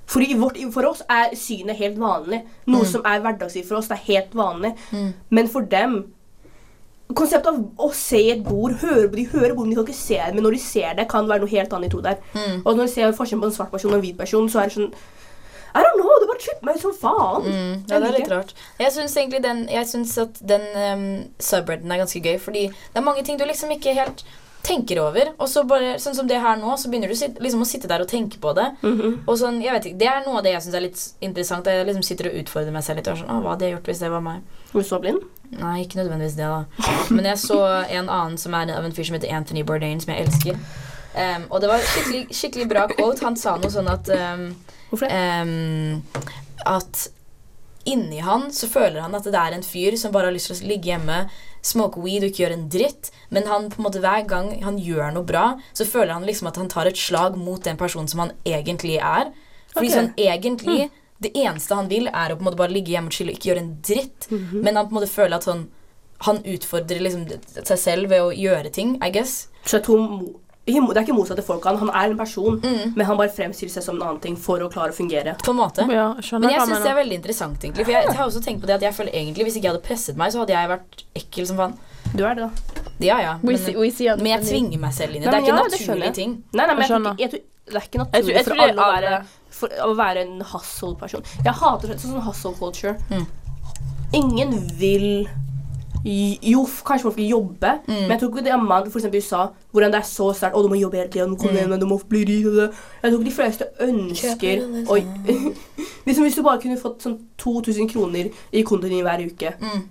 Fordi i vårt, For oss er synet helt vanlig. Noe som er hverdagsliv for oss. det er helt vanlig. Men for dem Konseptet av å se i et bord, høre på de hører bordet, men de kan ikke se det. Men når de ser det, kan det være noe helt annet i to der. Mm. Og når de ser forskjellen på en svart person og en hvit person, så er det sånn I don't know, det bare tripper meg ut som faen. Mm, ja, det er Jeg litt liker. rart. Jeg syns egentlig den, jeg synes at den um, subredden er ganske gøy, fordi det er mange ting du liksom ikke helt tenker over. Og så bare, sånn som det her nå, så begynner du sitt- liksom å sitte der og tenke på det. Mhm. Og sånn, jeg vet ikke, Det er noe av det jeg syns er litt interessant. Jeg liksom sitter og utfordrer meg selv litt. Og er sånn, «Å, hva hadde jeg gjort hvis det var meg? Er du så blind? Nei, ikke nødvendigvis det, da. Men jeg så en annen som er av en fyr som heter Anthony Bourdain, som jeg elsker. Em, og det var skikkelig, skikkelig bra quote. Han sa noe sånn at em, Hvorfor det? em, Ehm, At inni han så føler han at det er en fyr som bare har lyst til å ligge hjemme, smoke weed og ikke gjøre en dritt. Men han på en måte hver gang han gjør noe bra, så føler han liksom at han tar et slag mot den personen som han egentlig er. Ok. Fordi sånn egentlig Det eneste han vil, er å på en måte bare ligge hjemme og chille og ikke gjøre en dritt. Mhm. Men han på en måte føler at sånn han utfordrer liksom seg selv ved å gjøre ting, I guess. Så jeg tror mo- ikke mo- det er ikke motsatte folk han. Han er en person, men han bare fremstiller seg som en annen ting for å klare å fungere. Mm. På en måte. Ja, jeg skjønner Men jeg hva du syns det mener. er veldig interessant, egentlig. For jeg, jeg har også tenkt på det at jeg føler egentlig Hvis ikke jeg hadde presset meg, så hadde jeg vært ekkel som faen. Du er det, da. Ja, ja. We Men, eh, see- we see on- men jeg tvinger meg selv inn i det. Nei, Det er men ikke ja, en det skjønner naturlig jeg. ting. Nei, nei, men Jeg jeg tror, skjønner. ikke- jeg tror, det er ikke Jeg tror- naturlig jeg for tror det er alle å være, alle. for, å være en hustle-person. Jeg hater sånn- sånn hustle culture. Mm. Ingen vil j- Jo, f- kanskje folk vil jobbe, men jeg tror ikke det er man, for eksempel i USA, hvordan det er så sterkt 'Å, du må jobbe hele tiden, du, må komme hjem, du må bli rik' og det. Jeg tror ikke de fleste ønsker å liksom, Hvis du bare kunne fått sånn 2000 kroner i kontoen din hver uke Mm.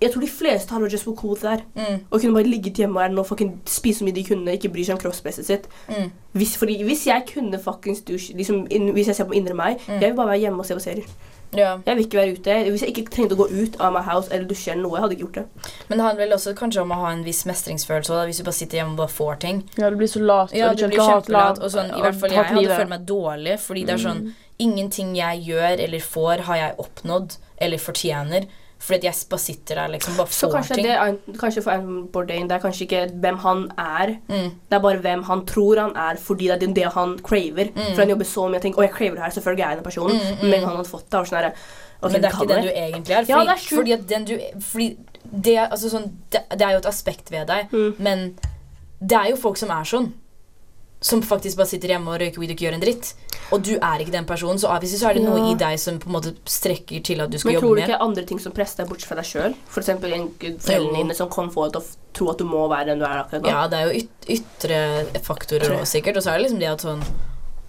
Jeg tror de fleste hadde vært just hvor cool det er. Mm. Og kunne bare ligget hjemme her nå, fucking spise så mye de kunne, ikke bry seg om kroppspresset sitt. Mm. Hvis, fordi, hvis jeg kunne fuckings douche liksom, inn, Hvis jeg ser på indre meg Jeg vil bare være hjemme og se på serier. Ja. Jeg vil ikke være ute. Hvis jeg ikke trengte å gå ut av my house eller dusje eller noe, jeg hadde ikke gjort det. Men det handler vel også kanskje om å ha en viss mestringsfølelse også, da, hvis du bare sitter hjemme og bare får ting. Ja, du blir så lat. Ja, og du kommer blir til å hate lat, kjempelat. Og sånn, I og hvert fall jeg hate hadde livet. følt meg dårlig, fordi det er sånn Mm. Ingenting jeg gjør eller får, har jeg oppnådd eller fortjener. Fordi at jeg bare sitter der liksom bare Så får kanskje, ting. det, er- kanskje for Anton Bourdain Det er kanskje ikke hvem han er. Mm. Det er bare hvem han tror han er, fordi det er det han craver. For han jobber så mye og tenker 'Å, jeg craver det her, selvfølgelig er jeg den personen'. Mm, mm. Men han hadde fått det. Og sånn her, «Ok, Men det er kan ikke jeg». den du egentlig er. Fordi, Ja, det er sjukt. fordi at den du fordi det, er- altså sånn, det, det er jo et aspekt ved deg, Mm. men det er jo folk som er sånn. Som faktisk bare sitter hjemme og røyker weed og ikke gjør en dritt. Og du er ikke den personen, så obviously så er det noe Ja. i deg som på en måte strekker til at du skal Men jobbe tror du mer. ikke andre ting som presser deg bort fra deg sjøl? F.eks. foreldrene dine som kan få deg til å f- tro at du må være den du er akkurat nå. Ja, det er jo yt ytre faktorer også, sikkert. Og så er det liksom det at sånn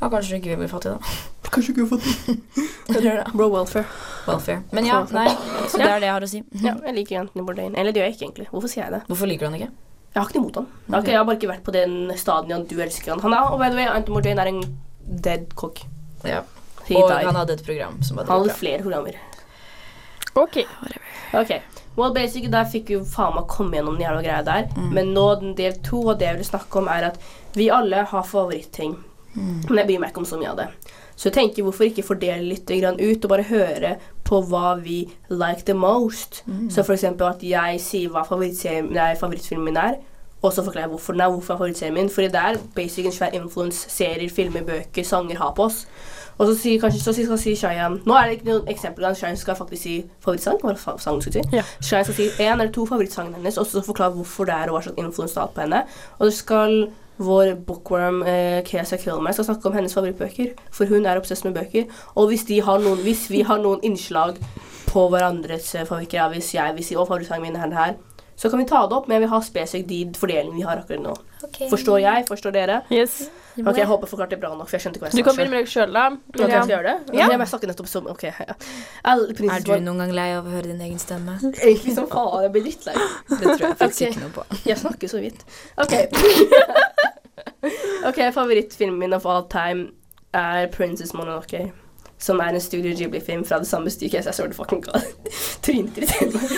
Ja, kanskje du ikke vil bli fattig, da. Kanskje ikke fått Eller da. Bro welfare. Welfare. Men ja, nei. Så det er det jeg har å si. Ja, jeg liker Anthony Bourdain. Eller det gjør jeg ikke, egentlig. Hvorfor sier jeg det? Hvorfor liker du han ikke? Jeg har ikke noe imot han. Jeg har, ikke, jeg har bare ikke vært på den staden i at du elsker han. Han er, og by the way, Anthony Bourdain er en dead cock. Ja. He Og died. han hadde et program som var Han hadde dritbra. flere programmer. OK. Ok, well basic, der fikk vi faen meg komme gjennom den jævla greia der. Men nå den del to, og det jeg vil snakke om, er at vi alle har favorittting. Men jeg bryr meg ikke om så mye av det. Så jeg tenker hvorfor ikke fordele litt grann ut, og bare høre på hva vi like the most. Så for eksempel at jeg sier hva favorittserien- nei, favorittfilmen min er, og så forklarer jeg hvorfor den er hvorfor er favorittserien min. Fordi det er basic en svær influence serier, filmer, bøker, sanger har på oss. Og så sier kanskje så skal si Shaya Nå er det ikke noe eksempel. men Shaya skal faktisk si favorittsang. Hva var det fa- sangen du skulle si? Ja. Shaya skal si én eller to favorittsangene hennes, og så forklare hvorfor det er og hva slags influence det har hatt på henne. Og så skal vår bookworm eh, Kesa Kilmer skal snakke om hennes favorittbøker, for hun er obsess med bøker. Og hvis, de har noen, hvis vi har noen innslag på hverandres eh, favoritter, ja, hvis jeg vil si 'Å, favorittsangen min er den her', så kan vi ta det opp, men jeg vil ha spesifikt de fordelingene vi har akkurat nå. Forstår jeg? Forstår dere? Yes. Ok, Jeg håper jeg forklarte det bra nok, for jeg skjønte ikke hva jeg Du sa. kan selv. begynne med deg sjøl, da. Ok, jeg skal Miriam. gjøre det? Ja. Ja. Jeg snakket nettopp som Ok, ja. Alle Er prinsesser du noen gang lei av å høre din egen stemme? egentlig som faen? Jeg blir litt lei. Det tror jeg faktisk Ok. ikke noe på. Jeg snakker så vidt. OK. ok, Favorittfilmen min of all time er 'Princess Mononoke'. Som er en Studio Ghibli-film fra det samme stykket. Jeg så det fucking galt. Trynter i meg.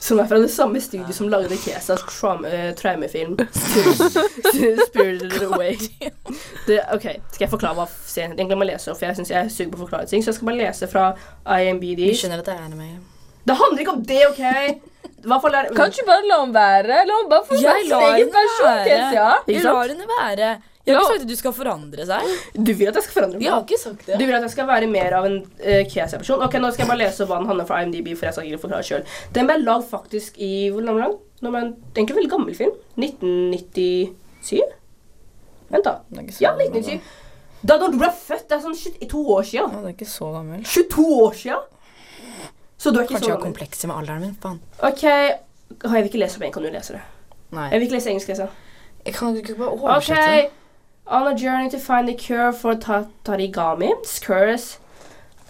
Som er fra det samme studio som lagde Kesas traum eh, traumefilm. Spirited Away. Det, ok, Skal jeg forklare hva serien Egentlig må jeg lese opp, for jeg syns jeg suger på å forklare ting. Så jeg skal bare lese fra IMBD. Vi skjønner at det er anime. Det handler ikke om det, OK? Hva for lærer Kan du ikke bare la henne være? La henne bare få Jeg sin lar egen henne versjon. være. Kezia. Jeg sant? lar henne være. Jeg har Ja. ikke sagt at du skal forandre seg. Du vil at jeg skal forandre meg? Jeg har ikke sagt Du det. vil at jeg skal være mer av en uh, Kesia-person? Ok, Nå skal jeg bare lese hva den handler om fra IMDb. for jeg skal ikke forklare selv. Den ble lagd faktisk i Hvor lang lang? Nå er det egentlig en veldig gammel film. 1997? Vent, da. Det er ikke så Ja, gammel, 1997. Da da du ble født, det er sånn 22 år da. siden. Å, det er ikke så gammel. 22 år siden? Så du er ikke Kanskje jeg har så gammel. komplekser med alderen min. Faen. Ok, Å, Jeg vil ikke lese opp en, kan du lese det? Nei. Jeg vil ikke lese engelsk, Kesia. Jeg kan ikke bare Ok. oversette. On a journey to find the cure for ta- Tarigami's curse,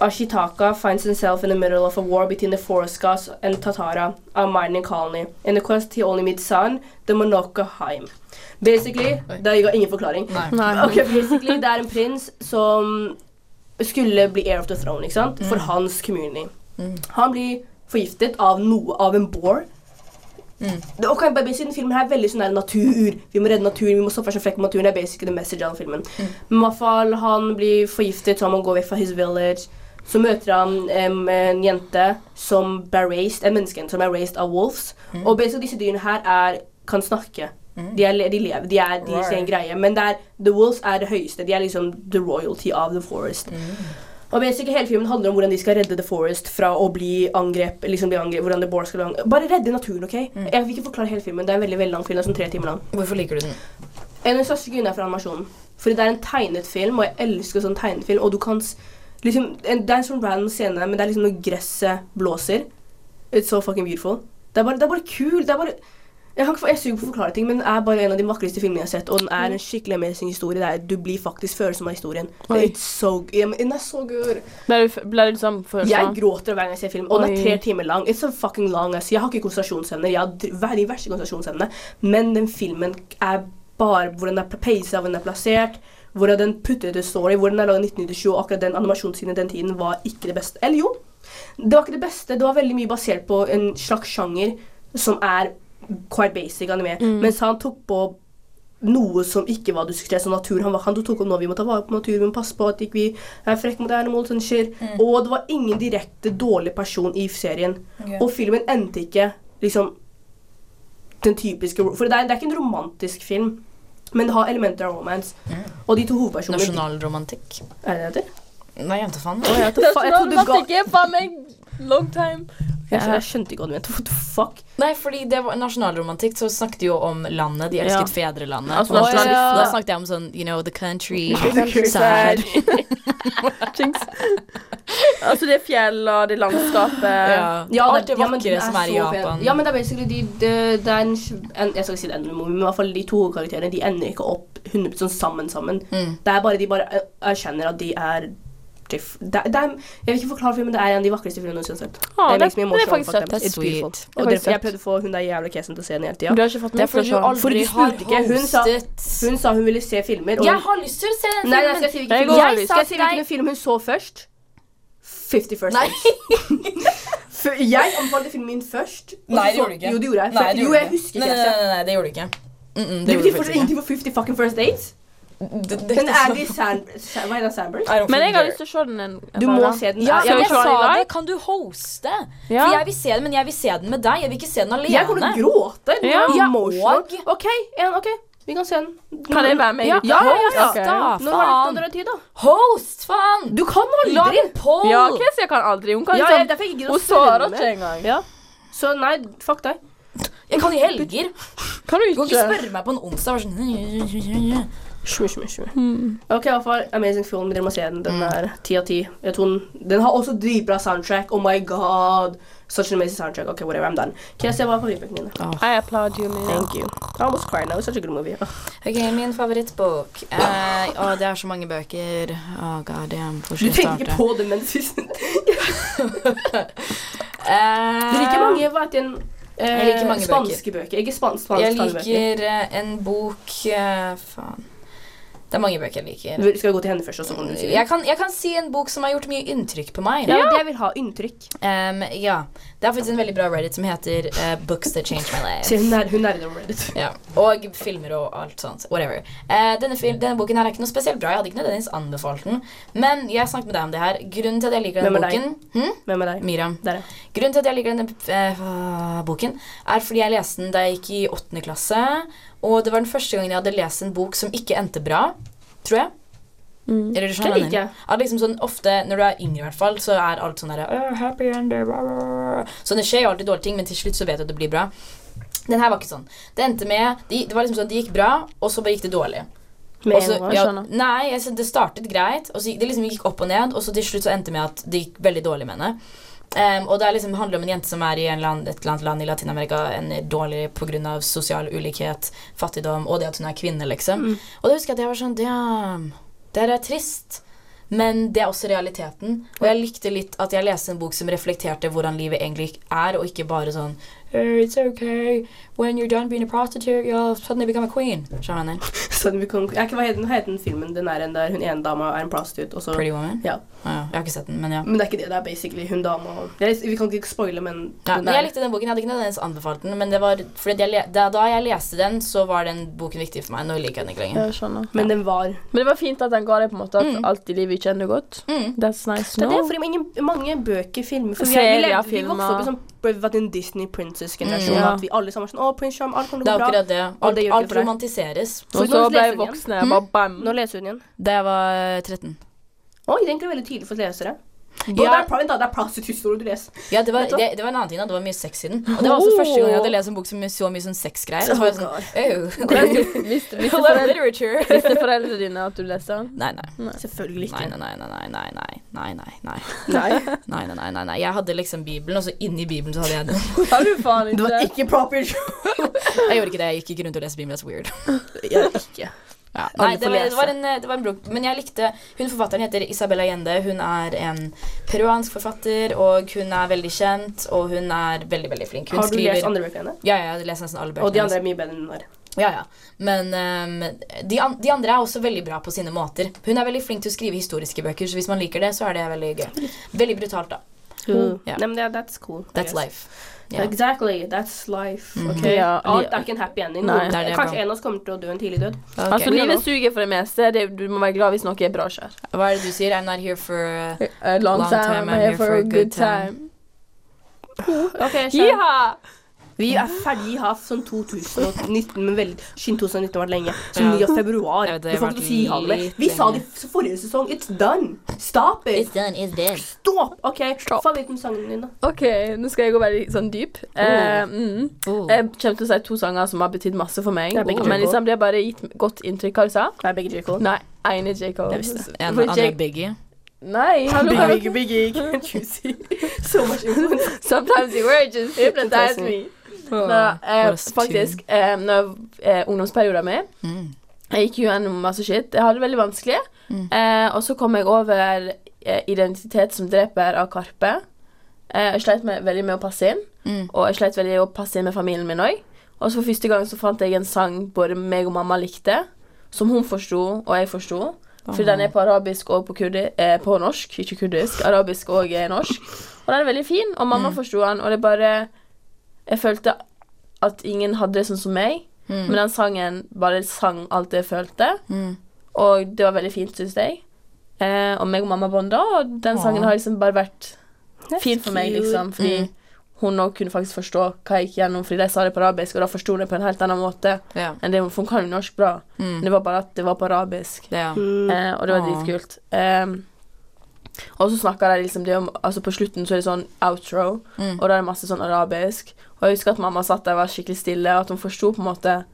Ashitaka finds himself in the middle of a war between the forest gods and Tatara, a mining colony. In the quest, he only meets son, the Monoka Haim. Basically, Oi. det ga ingen forklaring. Nei. Ok, basically, det er en prins som skulle bli heir of the throne, ikke sant? For hans community. Mm. Han blir forgiftet av noe av en boar. Mm. Det- Ok, bare basically, den filmen her er veldig sånn der natur. Vi må redde naturen, vi må stoppe å være så frekk med naturen. Det er basically the message av den filmen. Mm. Men i hvert fall, han blir forgiftet, så han må gå vekk fra his village. Så møter han em, en jente som ble raised, en menneske som er raised av wolves. Mm. Og basically, disse dyrene her er, kan snakke. De, er, le- de lever, de er de sin greie. Men det er, the wolves er det høyeste. De er liksom the royalty of the forest. Mm. Og basically Hele filmen handler om hvordan de skal redde The Forest fra å bli angrep, liksom bli angrep, hvordan The Boar skal bli angrep. Bare redde naturen, OK? Jeg vil ikke forklare hele filmen. Det er en veldig, veldig lang film. Det er sånn tre timer lang. Hvorfor liker du den? En av de største grunnene er fra animasjonen. Fordi det er en tegnet film, og jeg elsker sånn tegnet film. Og du kan s- liksom, en, Det er en sånn random scene, men det er liksom når gresset blåser. It's so fucking beautiful. Det er bare, det er bare kul. Det er bare jeg, kan ikke, for- jeg suger på å forklare ting, men det er bare en av de vakreste filmene jeg har sett. Og den er en skikkelig amazing historie. Det er, du blir faktisk følelsen av historien. Oi. It's so, ja, men den er så good. Ble du- Ble du liksom Jeg følelsen gråter hver gang jeg ser film, og den er Oi. tre timer lang. It's so fucking long, ass. Jeg har ikke konsentrasjonsevne. Jeg har dr- verdens verste konsentrasjonsevne. Men den filmen er bare hvordan den er pacet, hvordan den er plassert, hvordan den putter ut en story, hvordan den er laget i 1997, og akkurat den animasjonssiden i den tiden var ikke det beste. Eller jo, det var ikke det beste. Det var veldig mye basert på en slags sjanger som er quite basic anime, mens han tok på noe som ikke var diskutert som natur. Han, var, han tok opp nå, vi må ta vare på naturen, vi må passe på at ikke vi er frekke mot animal, sånn skjer. Og det var ingen direkte dårlig person i serien. Ok. Og filmen endte ikke liksom den typiske ro- For det er, det er ikke en romantisk film, men det har elementer av romance. Og de to hovedpersonene Nasjonalromantikk? Er det det heter? Nei, jente faen. Å, jeg, av? tok fa- jeg, trodde ga- Nasjonalromantikk er faen meg long time. jeg, jeg skjønte ikke hva du mente. What the fuck? Nei, fordi det var nasjonalromantikk, så snakket de jo om landet. De elsket fedrelandet. Altså, Og da nasjonal- snakket- ja. Da snakket jeg om sånn, you know, the country. Countryside. Jinx. Altså, det er fjell, og det er landskapet. Ja, alt det men vakre den som er i så pen. Japan. altså. Ja, men det er basically de, de, det er en, en, Jeg skal ikke si det ender med, men i hvert fall de to karakterene De ender ikke opp 100 sammen sammen. Mm. Det er bare de bare er- erkjenner at de er diff- det, det er, jeg vil ikke forklare filmen, det er en av de vakreste filmene jeg noensinne har sett. Ja, det, det- makes me det er emotional, faktisk fuck them. søtt. Det er It's beautiful. sweet. Det er Og det, faktisk jeg søtt. prøvde å få hun der jævla kesen til å se den hele tida. Du har ikke fått Det er fordi du aldri Fordi du har spurte ikke. Hun sa- hostet. Hun sa hun ville se filmer. og- Jeg har lyst til å se den Nei, nei, skal jeg filmen! si hvilken Jeg film- går jeg aldri. sa- Skal jeg si hvilken film hun så først? 50 First Nei. Dates. For jeg anbefalte filmen min først. og så- Jo, det gjorde jeg. For, Nei, det jo, gjorde jeg du ikke. husker Nei, ikke. nei, jeg sa- nei, nei, det gjorde du ikke. Mm -mm, Det det gjorde betyr fortsatt du faktisk ikke. ingenting for 50 fucking First Dates. det, det, Men Andy Sand... Sa- Hva heter han? Sandberg? Men jeg har lyst til å se den en Du bare må da. se den. ja, Skal men vi jeg se den sa i det. dag? Kan du hoste? Ja. For jeg vil se den, men jeg vil se den med deg. Jeg vil ikke se den alene. Jeg kommer til å gråte. Den Ja. er Ja, emotional. og- OK, en, ok, vi kan se den. Kan jeg være med? Ja, i ja, ja, ja. Ok. Når Da, har du- når faen. har du tid, da? Host, faen! Du kan Lag aldri! en poll! Ja, Kezia kan aldri. Hun kan Ja, jeg, liksom derfor jeg gidder å Hun svarer svømme. ikke engang. Ja. Så nei, fuck deg. Jeg kan i helger. Kan du Du kan ikke ikke? spørre meg på en onsdag. Bare sånn. Shmi, shmi, shmi. Ok, i hvert fall Amazing Film, dere må se den. Den er ti av ti. Jeg tror den- Den har også dritbra soundtrack. Oh my god. Such an amazing soundtrack. Ok, whatever, I'm done. Kezia, hva er favorittbøkene dine? I applaud you, Mina. Thank you. I almost cried now. It's Such a good movie. Ugh. Ok, min favorittbok. Eh, å, det er så mange bøker. Å, god damn. Hvor Du skal jeg tenker starte? på det mens vi Eh, Du liker mange hva heter den? Eh, Jeg liker mange spanske bøker. Ikke spansk, spansk Jeg talebøker. liker eh, en bok eh, Faen. Det er mange bøker jeg liker. Vil- Skal vi gå til henne først, og så kan du si det? Jeg kan, jeg kan si en bok som har gjort mye inntrykk på meg. Ja, det jeg vil ha inntrykk. Em, ja. Det er faktisk en veldig bra Reddit som heter eh, Books That Change My Life. Se, hun er, hun er i Reddit. Ja. Og filmer og alt sånt. Whatever. Eh, denne, fil denne boken her er ikke noe spesielt bra. Jeg hadde ikke nødvendigvis anbefalt den. Men jeg snakket med deg om det her. Grunnen til at jeg liker denne Hvem er deg? boken hm? Hvem er deg? Miriam. Der, ja. Grunnen til at jeg liker denne eh, boken, er fordi jeg leste den da jeg gikk i åttende klasse. Og det var den første gangen jeg hadde lest en bok som ikke endte bra. Tror jeg. Eller du Det skjønner hva jeg liker jeg. mener. At liksom sånn, ofte når du er yngre, i hvert fall, så er alt sånn derre «Åh, happy end, blah, blah, blah». Så Sånn, det skjer jo alltid dårlige ting, men til slutt så vet du at det blir bra. Den her var ikke sånn. Det endte med Det, det var liksom sånn, det gikk bra, og så bare gikk det dårlig. Med Og så- en gang. ja, skjønner. nei, altså, det startet greit. Og så, gikk- det liksom gikk opp og ned, og så til slutt så endte det med at det gikk veldig dårlig med henne. Em, og det er liksom, handler om en jente som er i en land, et eller annet land i Latin-Amerika en dårlig pga. sosial ulikhet, fattigdom og det at hun er kvinne, liksom. Mm. Og da husker jeg at jeg var sånn Damn, det her er trist. Men det er også realiteten. Og jeg likte litt at jeg leste en bok som reflekterte hvordan livet egentlig er, og ikke bare sånn «Hey, It's okay. When you're done being a prostitute, you'll suddenly become a queen. Skjønner du hva jeg mener? Sånn vi kan- Jeg vet ikke hva heter den, hva heter den filmen den er en der hun ene dama er en prostitute, og så Pretty Woman? Ja. Ah, ja. Jeg har ikke sett den, men ja. Men det er ikke det. Det er basically hun dama og jeg, Vi kan ikke spoile, men ja den men er- jeg likte den boken. Jeg hadde ikke nødvendigvis anbefalt den, men det var, fordi jeg, le- da, da jeg leste den, så var den boken viktig for meg. Nå liker jeg den ikke lenger. Jeg skjønner. Men den var Men det var fint at den ga deg på en måte at Mm. alt i livet ikke ender godt. Mm. That's nice Det er no. det, fordi mange, mange bøker, filmer for vi, Serier, vi, levde, vi filmer. vokste opp i sånn Vi var en Disney princess-generasjon. Mm, ja. At vi alle sammen var sånn Å, Prince Charm, alt kommer Det til å er gå bra. akkurat det. Og det Alt, gjør ikke alt for deg. romantiseres. Så Og nå så ble leser vi jeg den voksen, jeg bare bam. Nå leser hun igjen. Da jeg var 13. Oi, det er egentlig veldig tydelig for lesere. Og det Ja, er, pro- vent da, det er prostitute-historier du leser. ja det, var, Vet du hva? det, det var en annen ting. da Det var mye sex i den. Og det var også første gang jeg hadde lest en bok som så mye sånn sexgreier. Så var jeg sånn, «Ew». Visste visste Hello, foreldre- literature. visste foreldrene dine at du leste den? Nei, nei. Selvfølgelig Nei, ikke. nei, nei, nei, nei, nei, nei, nei, nei. Nei. Nei, nei, nei, nei, nei. Jeg hadde liksom Bibelen, og så inni Bibelen så hadde jeg den. Har du faen Det var ikke? ikke proper Jeg gjorde ikke det. Jeg gikk ikke rundt og leste Bibelen. That's weird. Jeg ikke. Ja, Alle nei, det får var, det, lese. var en, eh, det var en bok. Men jeg likte Hun forfatteren heter Isabel Allende. Hun er en peruansk forfatter, og hun er veldig kjent, og hun er veldig, veldig flink. Hun Har du lest andre bøker hennes? Ja, ja, jeg har lest nesten alle bøkene. Og de hennes. andre er mye bedre enn den der. Ja, ja. Men ehm, de, an de andre er også veldig bra på sine måter. Hun er veldig flink til å skrive historiske bøker, så hvis man liker det, så er det veldig gøy. Veldig brutalt, da. Ja. Mm. Nei, men det, that's cool. I That's guess. life. Ja. Exactly. That's life. Mhm. ok? Ja, Alt li- er ikke en happy ending. Nei. Noen- Det er det, Kanskje bra. en av oss kommer til å dø en tidlig død. Ok. Altså, livet suger for det meste. Det, du må være glad hvis noe er bra skjer. Hva er det du sier? I'm not here for uh, A Eh, long, time, I'm here for a good time. Ok, skjønner. Jiha! Vi er ferdig her sånn 2019, men veldig Siden 2019 har vært lenge. Så Ja. 9. av februar. Jeg vet det, Vi får det ikke har si ha det. vært mer. Vi sa det litt f- forrige sesong. It's done. Stop it. done, it's dead. Stopp. OK. Stopp. Favorittsangen din, da? OK, nå skal jeg gå veldig sånn dyp. Eh, mm. Oh. Jeg kommer til å si to sanger som har betydd masse for meg. Det er begge Men to. liksom, det har bare gitt godt inntrykk. Hva du sa du? Det er begge J. Cole. Nei, ene J. Cole. Jeg visste En For annen J- Biggie. Nei, hallo. Biggie, biggie, biggie. Can't you see? So much influence. Sometimes you were just hypnotized me. Nei, eh, faktisk, eh, når eh, ungdomsperioden min Mm. Jeg gikk jo gjennom masse shit. Jeg hadde det veldig vanskelig. Mm. Eh, og så kom jeg over eh, 'Identitet som dreper' av Karpe. Eh, jeg sleit med, veldig med å passe inn, Mm. og jeg sleit veldig med å passe inn med familien min òg. Og så for første gang så fant jeg en sang både meg og mamma likte, som hun forsto, og jeg forsto. For den er på arabisk og på, kurdi, eh, på norsk, ikke kurdisk. Arabisk og eh, norsk. Og den er veldig fin, og mamma forsto den, og det bare Jeg følte at ingen hadde det sånn som meg, Mm. men den sangen bare sang alt det jeg følte. Mm. Og det var veldig fint, syns jeg. Eh, og meg og mamma bonda, og den sangen har liksom bare vært fin for meg, cute. liksom. Fordi Mm. hun òg kunne faktisk forstå hva jeg gikk gjennom, fordi de sa det på arabisk, og da forsto hun det på en helt annen måte Ja. enn det hun For hun kan jo norsk bra. Mm. Det var bare at det var på arabisk. Det, ja. Eh, og det var Åh. dritkult. Ehm, og så snakker de liksom det om Altså På slutten så er det sånn outro, Mm. og da er det masse sånn arabisk. Og jeg husker at mamma satt der og var skikkelig stille, og at hun forsto på en måte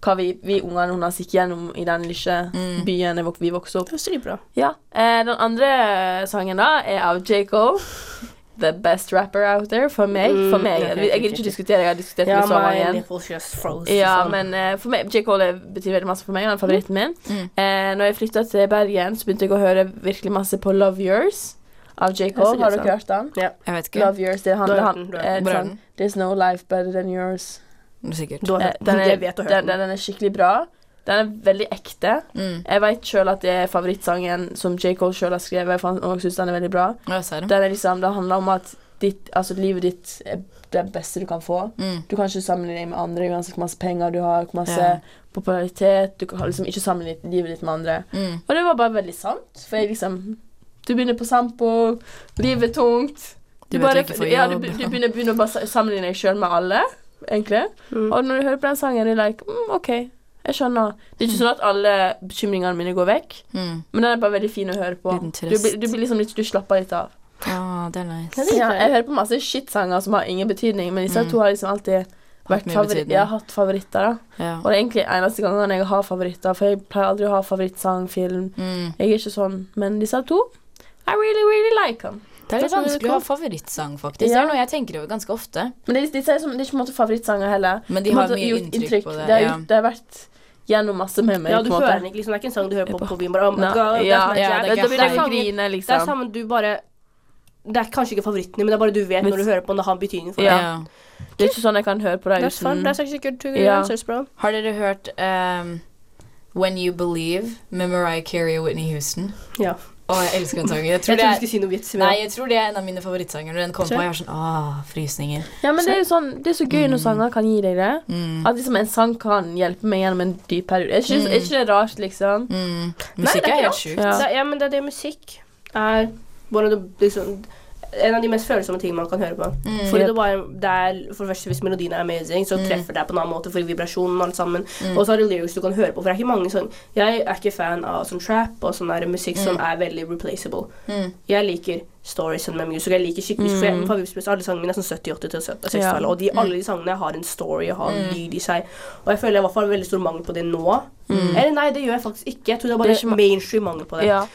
hva vi, vi ungene hennes gikk gjennom i den lille byen jeg vok- vi vokste opp. Det var strypbra. Ja. Eh, den andre sangen da er av Jacob. The best rapper out there for meg. For meg. ok, Jeg gidder ikke diskutere, jeg har diskutert Ja, med så mange. my nipples just froze. Ja, sånn. men eh, for meg, J. Cole betyr veldig masse for meg. Han er favoritten min. Eh, når jeg flytta til Bergen, så begynte jeg å høre virkelig masse på Love Yours av J. Cole. sikkert Har dere sant. hørt den? Jeg vet ikke. Love Yours, det Du handler har hørt han, den, du har hørt eh, den. det er Hvor er sånn, den? There's no life better than yours. Sikkert. Du har Eh, hørt den, den. er, Jeg vet du har hørt den, den. den er skikkelig bra. Den er veldig ekte. Mm. Jeg veit sjøl at det er favorittsangen som J. Cole sjøl har skrevet, for han syns den er veldig bra. Ja, ser du. Den er liksom, det handler om at ditt, altså, livet ditt er det beste du kan få. Mm. Du kan ikke sammenligne deg med andre uansett hvor masse penger du har, hvor masse Ja. popularitet Du kan liksom ikke sammenligne livet ditt med andre. Mm. Og det var bare veldig sant, for jeg liksom Du begynner på sampo, livet er tungt. Du, Du vet bare, du ikke får ja, du, jobb. be- du begynner, begynner å bare sa- sammenligne deg sjøl med alle, egentlig. Mm. Og når du hører på den sangen, er du like mm, OK, jeg skjønner. Det er ikke sånn at alle bekymringene mine går vekk, Mm. men den er bare veldig fin å høre på. Liten Du, trøst. blir- du blir liksom litt Du slapper litt av. Ja, det er nice. Ja, jeg hører på masse shit-sanger som har ingen betydning, men disse to har liksom alltid vært Mm. mye favori betydning. jeg har hatt favoritter. da. Ja. Og det er egentlig eneste gangen jeg har favoritter, for jeg pleier aldri å ha favorittsang, film. Mm. Jeg er ikke sånn, men disse to I really, really like them. Det er litt Sånn, vanskelig å ha favorittsang, faktisk. Det Ja. er noe jeg tenker over ganske ofte. Men det, disse er, som, det er ikke på en måte favorittsanger heller. Men de På en har måte mye gjort inntrykk, på det. Det har, ja. gjort, det har vært gjennom masse med meg. Ja, du på en hører måte. den ikke, liksom. Det er ikke en sang du hører på Nei, på byen. Bare, oh my Nei, God, ja, that's my jam. ja, det er Da ikke begynner jeg feil. å sangen- grine, Det er liksom. sammen du bare Det er kanskje ikke favorittene, men det er bare du vet Men- når du hører på den, det har en betydning for deg. Ja. Ja. Det er ikke sånn jeg kan høre på det That's fun. uten That's actually good to Ja. answers, bro. Har dere hørt ehm, When You Believe med Mariah Carey og Whitney Houston? Ja. Å, jeg elsker den sangen. Jeg Jeg tror, trodde du det er, skulle si noe vits. men- nei, jeg tror det er en av mine favorittsanger. Når den kom på, jeg var sånn Åh, frysninger. Ja, men det er jo sånn Det er så gøy når sanger kan gi deg det. Mm. At liksom en sang kan hjelpe meg gjennom en dyp periode. Er ikke, er ikke det rart, liksom? Mm. Nei, det Musikk er er ikke helt sjukt. Ja. Det, er- ja, men det er det musikk er one of the, liksom, en av de mest følsomme tingene man kan høre på. Mm, Fordi det, bare, det er, for det første, Hvis melodien er amazing, så Mm. treffer det deg på en annen måte for vibrasjonen. og alt sammen. Og så har du lyrics du kan høre på. For det er ikke mange sånn, Jeg er ikke fan av sånn trap og sånn der musikk som Mm. er veldig replaceable. mm. Jeg liker stories and my music. Jeg liker skikkelig for Mm. jeg, favorittspesielt Alle sangene mine er sånn 70, 80 til 70 60-tallet. Og de, alle de sangene har en story og har Mm. en lyd i seg. Og jeg føler jeg i hvert fall har veldig stor mangel på det nå. Eller nei, det gjør jeg faktisk ikke. Jeg tror det er bare Mm. Det er ikke ma- mainstream mangel på det. Ja.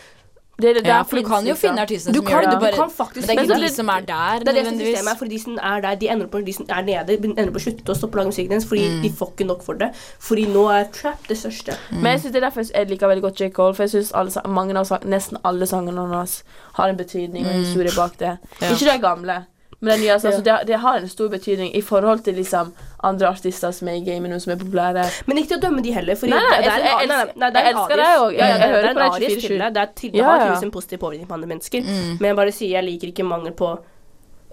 Det er det Ja, der for du finnes, kan jo liksom. finne artistene Du som kan- gjør det. du Du bare, kan faktisk- men det er men ikke så de det- som er der, Det er det som er nødvendigvis. systemet er, for de som er der, de ender på, de som er nede, de ender på å slutte å stoppe å lage musikken deres Mm. fordi de får ikke nok for det. Fordi nå er trap det største. Men jeg synes det er derfor jeg liker veldig godt J. Cole. For jeg synes alle, sa- mange av, sang- nesten alle sangene hans har en betydning og en historie bak det. Mm. Ja. Ikke de gamle, men de nye. Altså, altså, det, det har en stor betydning i forhold til liksom, andre artister som er i gamet nå, som er populære. Men ikke til å dømme de heller. Fordi Nei, nei, det, det er en, jeg- jeg- nei, nei, nei, det er en jeg elsker aries. deg også. Jeg- Ja, ja, jeg det er hører på en deg aries 24/7. til deg. Det, er til, det Ja, har ja. Mm. tydeligvis en positiv påvirkning på andre Mm. mennesker. Men jeg bare sier jeg liker ikke mangel på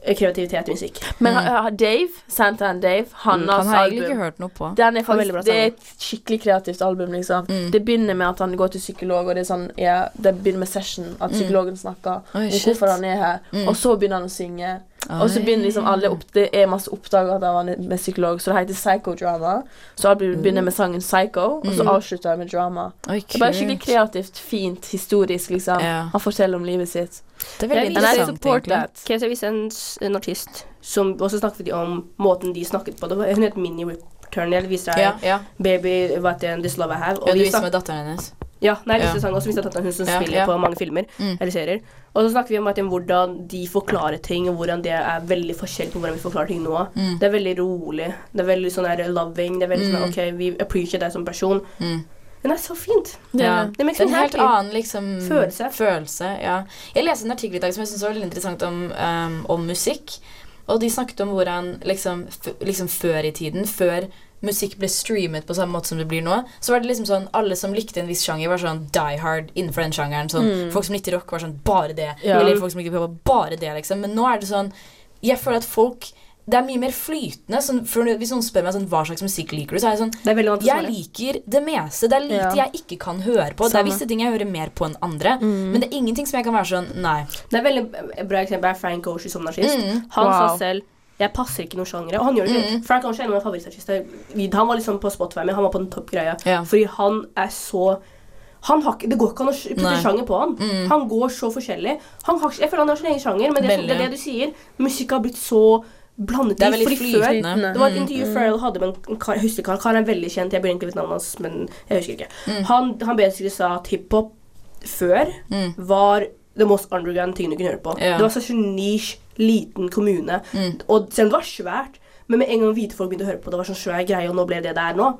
eh, kreativitet i musikk. Men ha- ha- Dave, Santan Dave, hans Mm. Han har altså, jeg egentlig album ikke hørt noe på. Den er var veldig faktisk, bra det er sanger. et skikkelig kreativt album. liksom. Mm. Det begynner med at han går til psykolog, og det, er sånn, ja, det begynner med session. At psykologen snakker Oi, om Mm. shit. Mm. hvorfor han er her. Og så begynner han å synge. Og så begynner liksom alle opp, Det er masse oppdager at han er med psykolog, så det heter psychodrama. Så albumet begynner med sangen 'Psycho', og så avslutter han med drama. Oi, Det er bare kult. skikkelig kreativt, fint, historisk. liksom. Ja. Han forteller om livet sitt. Det er veldig Jeg And I interessant, support egentlig. that. Okay, så jeg viste en, s- en artist, som, og så snakket de om måten de snakket på. Det var, hun het Mini Return. Jeg viser deg Ja, ja. Baby, hva heter den, This Love I Have. ja, de du viser snak- meg datteren hennes. Ja, nei, jeg Ja. visste sangen også. Visste at det er hun som Ja, spiller ja. Mm. på mange filmer eller serier. Og så snakker vi om at, hvordan de forklarer ting, og hvordan det er veldig forskjellig på hvordan vi forklarer ting nå. Mm. Det er veldig rolig. Det er veldig sånn her loving. Det er veldig sånn OK, we appreciate deg som person. Mm. Men det er så fint. Ja. Det makes Det er en me helt happy. annen liksom, Følelse. følelse, ja. Jeg leste en artikkel i dag som jeg syntes var veldig interessant om, ehm, om musikk. Og de snakket om hvordan liksom, f liksom før i tiden, før musikk ble streamet på samme måte som det blir nå, så var det liksom sånn alle som likte en viss sjanger, var sånn die hard innenfor den sjangeren. Sånn, Folk som likte rock, var sånn bare det. Ja. Eller folk som likte pop, var bare det, liksom. Men nå er det sånn Jeg føler at folk det er mye mer flytende. Sånn, for når- hvis noen spør meg sånn, hva slags musikk liker du, så er jeg sånn Det er veldig vanskelig å Jeg svare. liker det meste. Det er lite Ja. jeg ikke kan høre på. Det Samme. er visse ting jeg hører mer på enn andre. Men det er ingenting som jeg kan være sånn Nei. Det er veldig et bra eksempel er Frank Ocean som nazist. Mm. Han Wow. sa selv jeg passer ikke noen sjangre. Og han gjør det ikke. Frank Ocean er en av mine favorittartister. Vi- Han var liksom på Spotify, men han var på den toppgreia. Ja. Fordi han er så han har, ikke- det går ikke an å sj- putte Nei. sjanger på han. Mm. Han går så forskjellig. Han har, ikke- jeg føler han har sin egen sjanger, men det, er så- Veldig. det er det du sier. Musikk har blitt så blandet. Det er i, veldig fordi før- flytende. Mm. flytende. det var et intervju Pharrell hadde med en kar, jeg husker ikke, han karen er veldig kjent, jeg blir egentlig litt navnet hans, men jeg husker ikke. Mm. Han, han basically sa at hiphop før var the most underground tingen du kunne høre på. Mm. Ja. Mm. Det var such a niche, liten kommune, og selv om det var svært, men med en gang hvite folk begynte å høre på, det var sånn svær greie, og nå ble det der nå.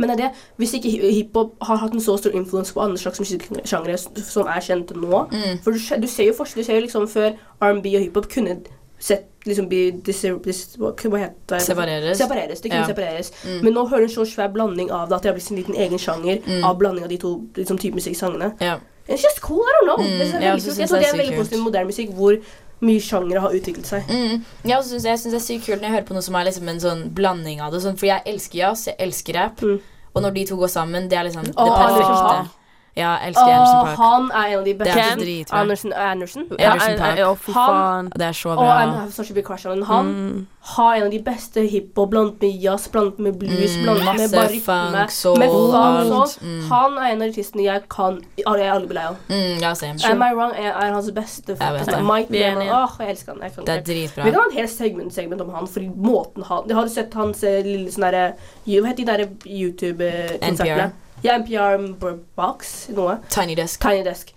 Men det er det, hvis ikke hi- hiphop har hatt en så stor influens på andre slags musikksjangre s- som er kjente nå Mm. For du, skj- du ser jo forskjell. Du ser jo liksom før R&B og hiphop kunne sett liksom bli dis, dis, Hva hva heter det? Separeres. Separeres, Det kunne Ja. Mm. separeres. Men nå hører du en så svær blanding av det at det har blitt en liten egen sjanger Mm. av blanding av de to liksom, type musikksangene. Ja. It's just cool, I don't know. Det synes jeg, er jeg veldig kult. også Mm. synes jeg tror det det er er veldig sykt positivt kult. med moderne musikk hvor mye sjangere har utviklet seg. Mm. Jeg også synes, jeg synes det er sykt kult når jeg hører på noe som er liksom en sånn blanding av det. Sånn, for jeg elsker jazz, jeg elsker rap. Mm. Og når de to går sammen, det er liksom det Åh, Anderson perfekte. Paak. Ja, jeg elsker Og Anderson Park. Ah, han er en av de Det er så beste. dritbra. Anderson. Anderson. Ja, Anderson jeg- Paak. jeg- å, fy Han- faen. Mm. Det er så Og bra. Mm. I have such a big crush on him. Han har en av de beste hiphop, blant med jazz, blant med blues, Mm, blant med masse bare rytme. funk, soul, med funk, alt. soul. Han er en av artistene jeg kan Jeg er aldri blei av. Mm, ja, same. Am I wrong? Er, er hans beste Jeg vet det. Mike Vi er Lemon. enige. Åh, jeg elsker han. Jeg kan Det er ikke. Vi dritbra. kan ha en hel segment, segment om han, fordi måten han Har du sett hans eh, lille sånn derre Hva heter de derre YouTube-konsertene? NPR. Ja, NPR Br- Box, noe. Tiny Desk. Tiny Desk.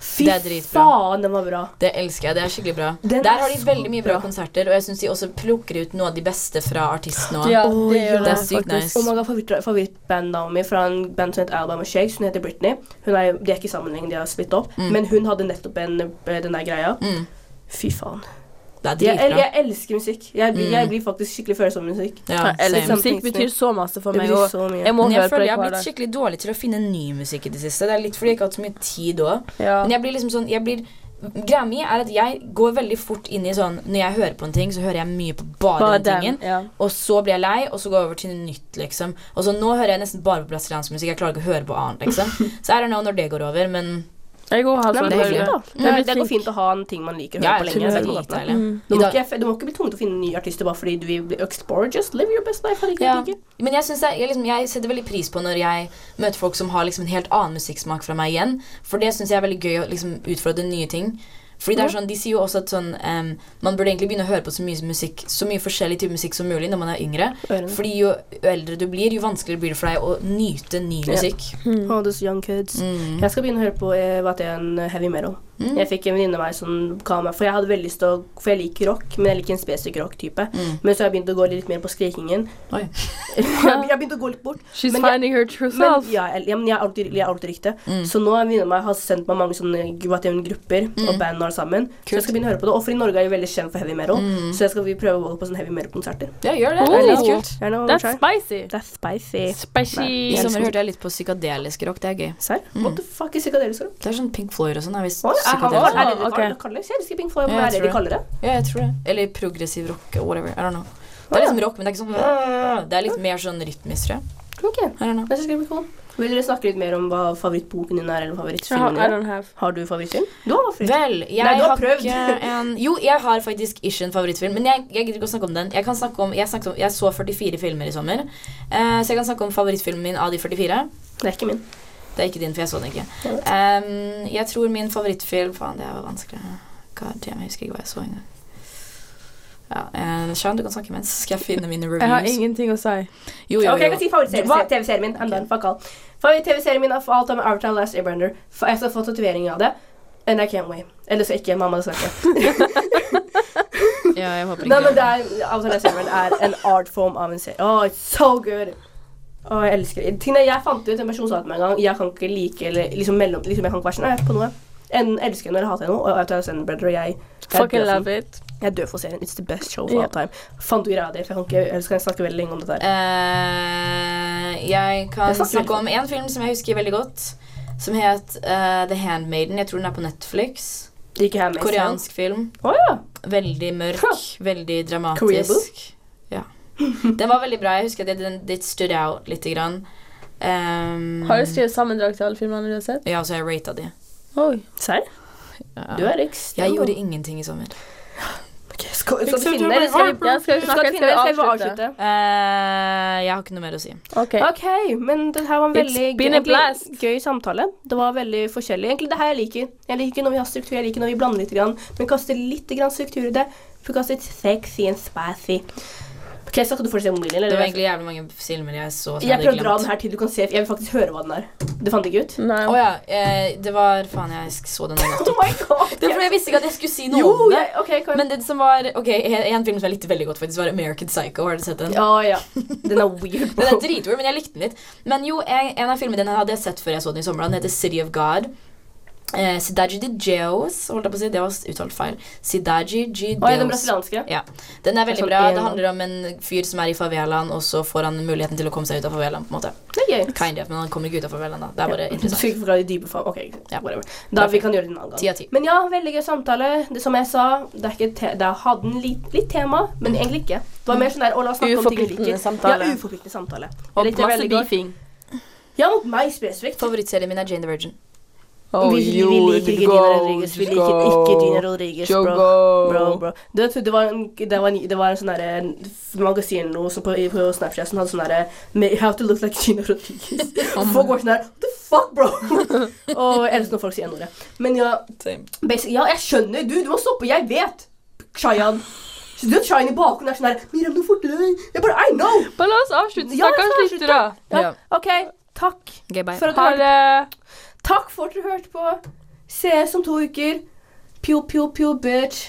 Fy Det er dritbra. faen, den var bra. Det elsker jeg. Det er skikkelig bra. Den Der er har de så veldig mye bra bra. konserter, og jeg syns de også plukker ut noe av de beste fra artistene òg. Ja, Åh, det gjør ja. Det det, er sykt faktisk. nice. Og mange favoritt- favorittbandnavnet mitt fra en band som heter Alabama Shakes. Hun heter Britney. Hun er, de er ikke i sammenheng, de har splitt opp. Men hun hadde nettopp en, den der greia. Mm. Fy faen. Det er Jeg, el- dritbra. jeg elsker musikk. Jeg, blir- jeg blir faktisk skikkelig følsom med musikk. Ja, Ja, eller same. musikk betyr så masse for Det meg. betyr Og så mye. jeg må høre Men jeg på føler det jeg har hver dag. blitt skikkelig dårlig til å finne ny musikk i det siste. Det er litt fordi jeg ikke har hatt så mye tid òg. Ja. Men jeg blir liksom sånn jeg blir, Greia mi er at jeg går veldig fort inn i sånn Når jeg hører på en ting, så hører jeg mye på bare, Bare den den, tingen. ja. Og så blir jeg lei, og så går jeg over til noe nytt, liksom. Og så nå hører jeg nesten bare på brasiliansk musikk. Jeg klarer ikke å høre på annet, liksom. Så I don't know når det går over, men Jeg går og har Nei, men sånn det, er høyre. fint, da. Det, Jeg er, blir det går flink. fint å ha en ting man liker å ja, høre på jeg lenge. synes det Det er er godt, da. dritdeilig. Mm. Du I må, dag- ikke, du må ikke bli tvunget til å finne nye artister bare fordi du vil bli explored. Just live your best life. herregud, Ja. ikke? Men jeg, synes det, jeg, liksom, jeg setter veldig pris på når jeg møter folk som har liksom en helt annen musikksmak fra meg igjen. For det syns jeg er veldig gøy å liksom, utfordre nye ting. Fordi det er sånn, De sier jo også at sånn, em, man burde egentlig begynne å høre på så mye, musikk, så mye forskjellig type musikk som mulig når man er yngre. Ørene. Fordi jo eldre du blir, jo vanskeligere blir det for deg å nyte ny musikk. Mm. All those young kids. Mm. Jeg skal begynne å høre på eh, hva det er en heavy metal. Jeg fikk en venninne av meg som ga meg For jeg hadde veldig lyst til å For jeg liker rock, men jeg liker en spesifikk rock-type. Mm. Men så har jeg begynt å gå litt mer på skrikingen. Oi. jeg har begynt å gå litt bort. She's Men jeg- finding her true Men, self. ja, jeg, ja, men jeg er alltid, jeg er alltid riktig. Mm. Så nå har en venninne av meg har sendt meg mange sånne Guatian-grupper Mm. og band og alt sammen. Så jeg skal begynne å høre på det. Og for i Norge er vi veldig kjent for heavy metal, Mm. så jeg skal vi prøve å gå på sånne heavy metal-konserter. Ja, gjør det. Oh. Det er litt kult. Gjerne å That's try. spicy. That's spicy. Spicy. I sommer hørte jeg litt på psykadelisk rock. Det er gøy. Serr? What the fuck is psykadelisk rock? Det er sånn Pink Floyd og sånn. Er visst Å, er, han- psykadelisk. psykadelisk. er det det de Ok. kaller- kaller det? Jeg elsker Pink Floyd, Ja, men jeg er det tror de kaller det. det? Ja, jeg tror det. Eller progressiv rock. Whatever. I don't know. Det er liksom rock, men det er ikke sånn Det er litt mer sånn rytmisk, tror jeg. Ok, I don't know. det skal bli cool. Vil dere snakke litt mer om hva favorittboken din er, eller I favorittfilmen don't- I din? er? don't have. Har du favorittfilm? Du har favorittfilm. Vel, jeg Nei, du har har, prøvd. ikke en Jo, jeg har faktisk ikke en favorittfilm, men jeg, jeg gidder ikke å snakke om den. Jeg, kan snakke om, jeg, snakket om, jeg så 44 filmer i sommer, eh, så jeg kan snakke om favorittfilmen min av de 44. Det er ikke min. Det er ikke din, for jeg så den ikke. Jeg vet. Em, jeg tror min favorittfilm Faen, det var vanskelig. God damn, jeg husker ikke hva jeg så engang. Ja, eh, Sean, du kan snakke imens. Skal jeg finne mine reviews? Jeg har ingenting å si. Jo, jo, Ok, jeg jo. kan si favoritt-TV-serien TV-serien min. I'm done, fuck all. Favoritt-TV-serien min av alt er med Avatar Last Airbender. F- Jeg skal få tatovering av det. And I can't wait. Eller så ikke. Mamma, det skal jeg ikke. Ja, jeg håper Nei, ikke men det det. er, Avatar Last Airbender er en art form av en serie. Oh, it's so good. Å, jeg elsker det. Tingene jeg fant ut, en person sa til meg en gang, jeg kan ikke like, eller liksom mellom, liksom jeg kan ikke være sånn, «Nei, jeg er på noe. Enten elsker jeg noe, eller hater jeg noe, og Avatar Last Airbender og jeg, jeg er Fucking død for den. love it. Jeg dør for serien. It's the best show of Ja. all time. Fant du greia di? For jeg kan ikke, ellers kan jeg snakke veldig lenge om dette. her. Eh, jeg kan Jeg snakker snakke litt. om en film som jeg husker veldig godt, som het eh, The Handmaiden. Jeg tror den er på Netflix. Ikke her med Koreansk film. Å ja. Veldig mørk, veldig Korea book? dramatisk. Ja. Den var veldig bra. Jeg husker at den det stood out lite grann. Um, Har du skrevet sammendrag til alle filmene du har sett? Ja, så har jeg rata de. Oi. Serr? Du er ekstrem. Jeg gjorde ingenting i sommer. Ok, skal, skal Liksom, vi du finne, eller skal vi Ja, skal vi skal snakke? vi finne, eller skal vi avslutte? Eh, jeg har ikke noe mer å si. Ok. OK, men det her var en It's veldig been a egentlig blast. gøy samtale. Det var veldig forskjellig. Egentlig det her jeg liker. Jeg liker når vi har struktur, jeg liker når vi blander litt, grann, men kaster litt grann struktur i det. For kaster sexy and spicy. OK, så skal du fortsette mobilen, Det eller? var egentlig jævlig mange filmer jeg så som jeg prøvde å dra den glemt. her til du kan se Jeg vil faktisk høre hva den er. Du fant ikke ut? Nei. Å ja. eh, det var Faen, jeg sk- så den nettopp. Oh my god! Det er fordi jeg visste ikke at jeg skulle si noe jo, om det. jeg, OK, kom Men den som var Ok, en en film som jeg likte veldig godt, faktisk, var American Psycho. Har du sett den? Ja, ja. Den er weird. Den er dritweird, men jeg likte den litt. Men jo, en, en av filmene den hadde jeg sett før jeg så den i sommer. Den heter City of God. Eh, Sidaji de Jeos, holdt jeg på å si. Det var uttalt feil. Sidaji de Oi, den Jeos. brasilianske. Den er Jeg så veldig bra. en Det av handler om en fyr som er i favelaen, og så får han muligheten til å komme seg ut av favelaen. på en måte. Det er gøy. Kind of, men han kommer ikke ut av favelaen da. Det er bare Du interessant. fikk fra de dype fag. OK, Ja. whatever. Da vi kan gjøre det en annen gang. Ti av ti. Men ja, veldig gøy samtale. Det som jeg sa, det, er ikke te det hadde en litt, litt tema, men egentlig ikke. Det var mer sånn der, å la oss snakke om ting vi liker. Uforpliktende samtale. Ja, uforpliktende samtale. Jeg Og likte det masse veldig godt. beefing. Ja, mot meg spesifikt. Favorittserien min er Jane the Virgin. Oh, vi, vi you liker ikke go, Gina Rodriguez. Vi liker ikke go, Gina Rodriguez, you bro. go. Bro, bro. Du vet, det var en, det var en, det var en sånn derre magasin noe som på, på Snapchat som hadde sånn derre "Ma- How to look like Gina Rodriguez. Folk var sånn der What the fuck, bro? Og jeg elsker når folk sier n-ordet. Men ja, Basic, ja, jeg skjønner. Du, du må stoppe. Jeg vet. Shayan. Du vet Shayan i bakgrunnen er sånn her Miriam, du fortere deg. Jeg bare I know. Bare la oss avslutte. Ja, la oss Stakkars avslutte. lyttere. Ja, Ja. OK. Takk Okay, bye. for at du Ha hørte. det. Takk for at du hørte på. Ses om to uker. Pjo, pjo, pjo, bitch.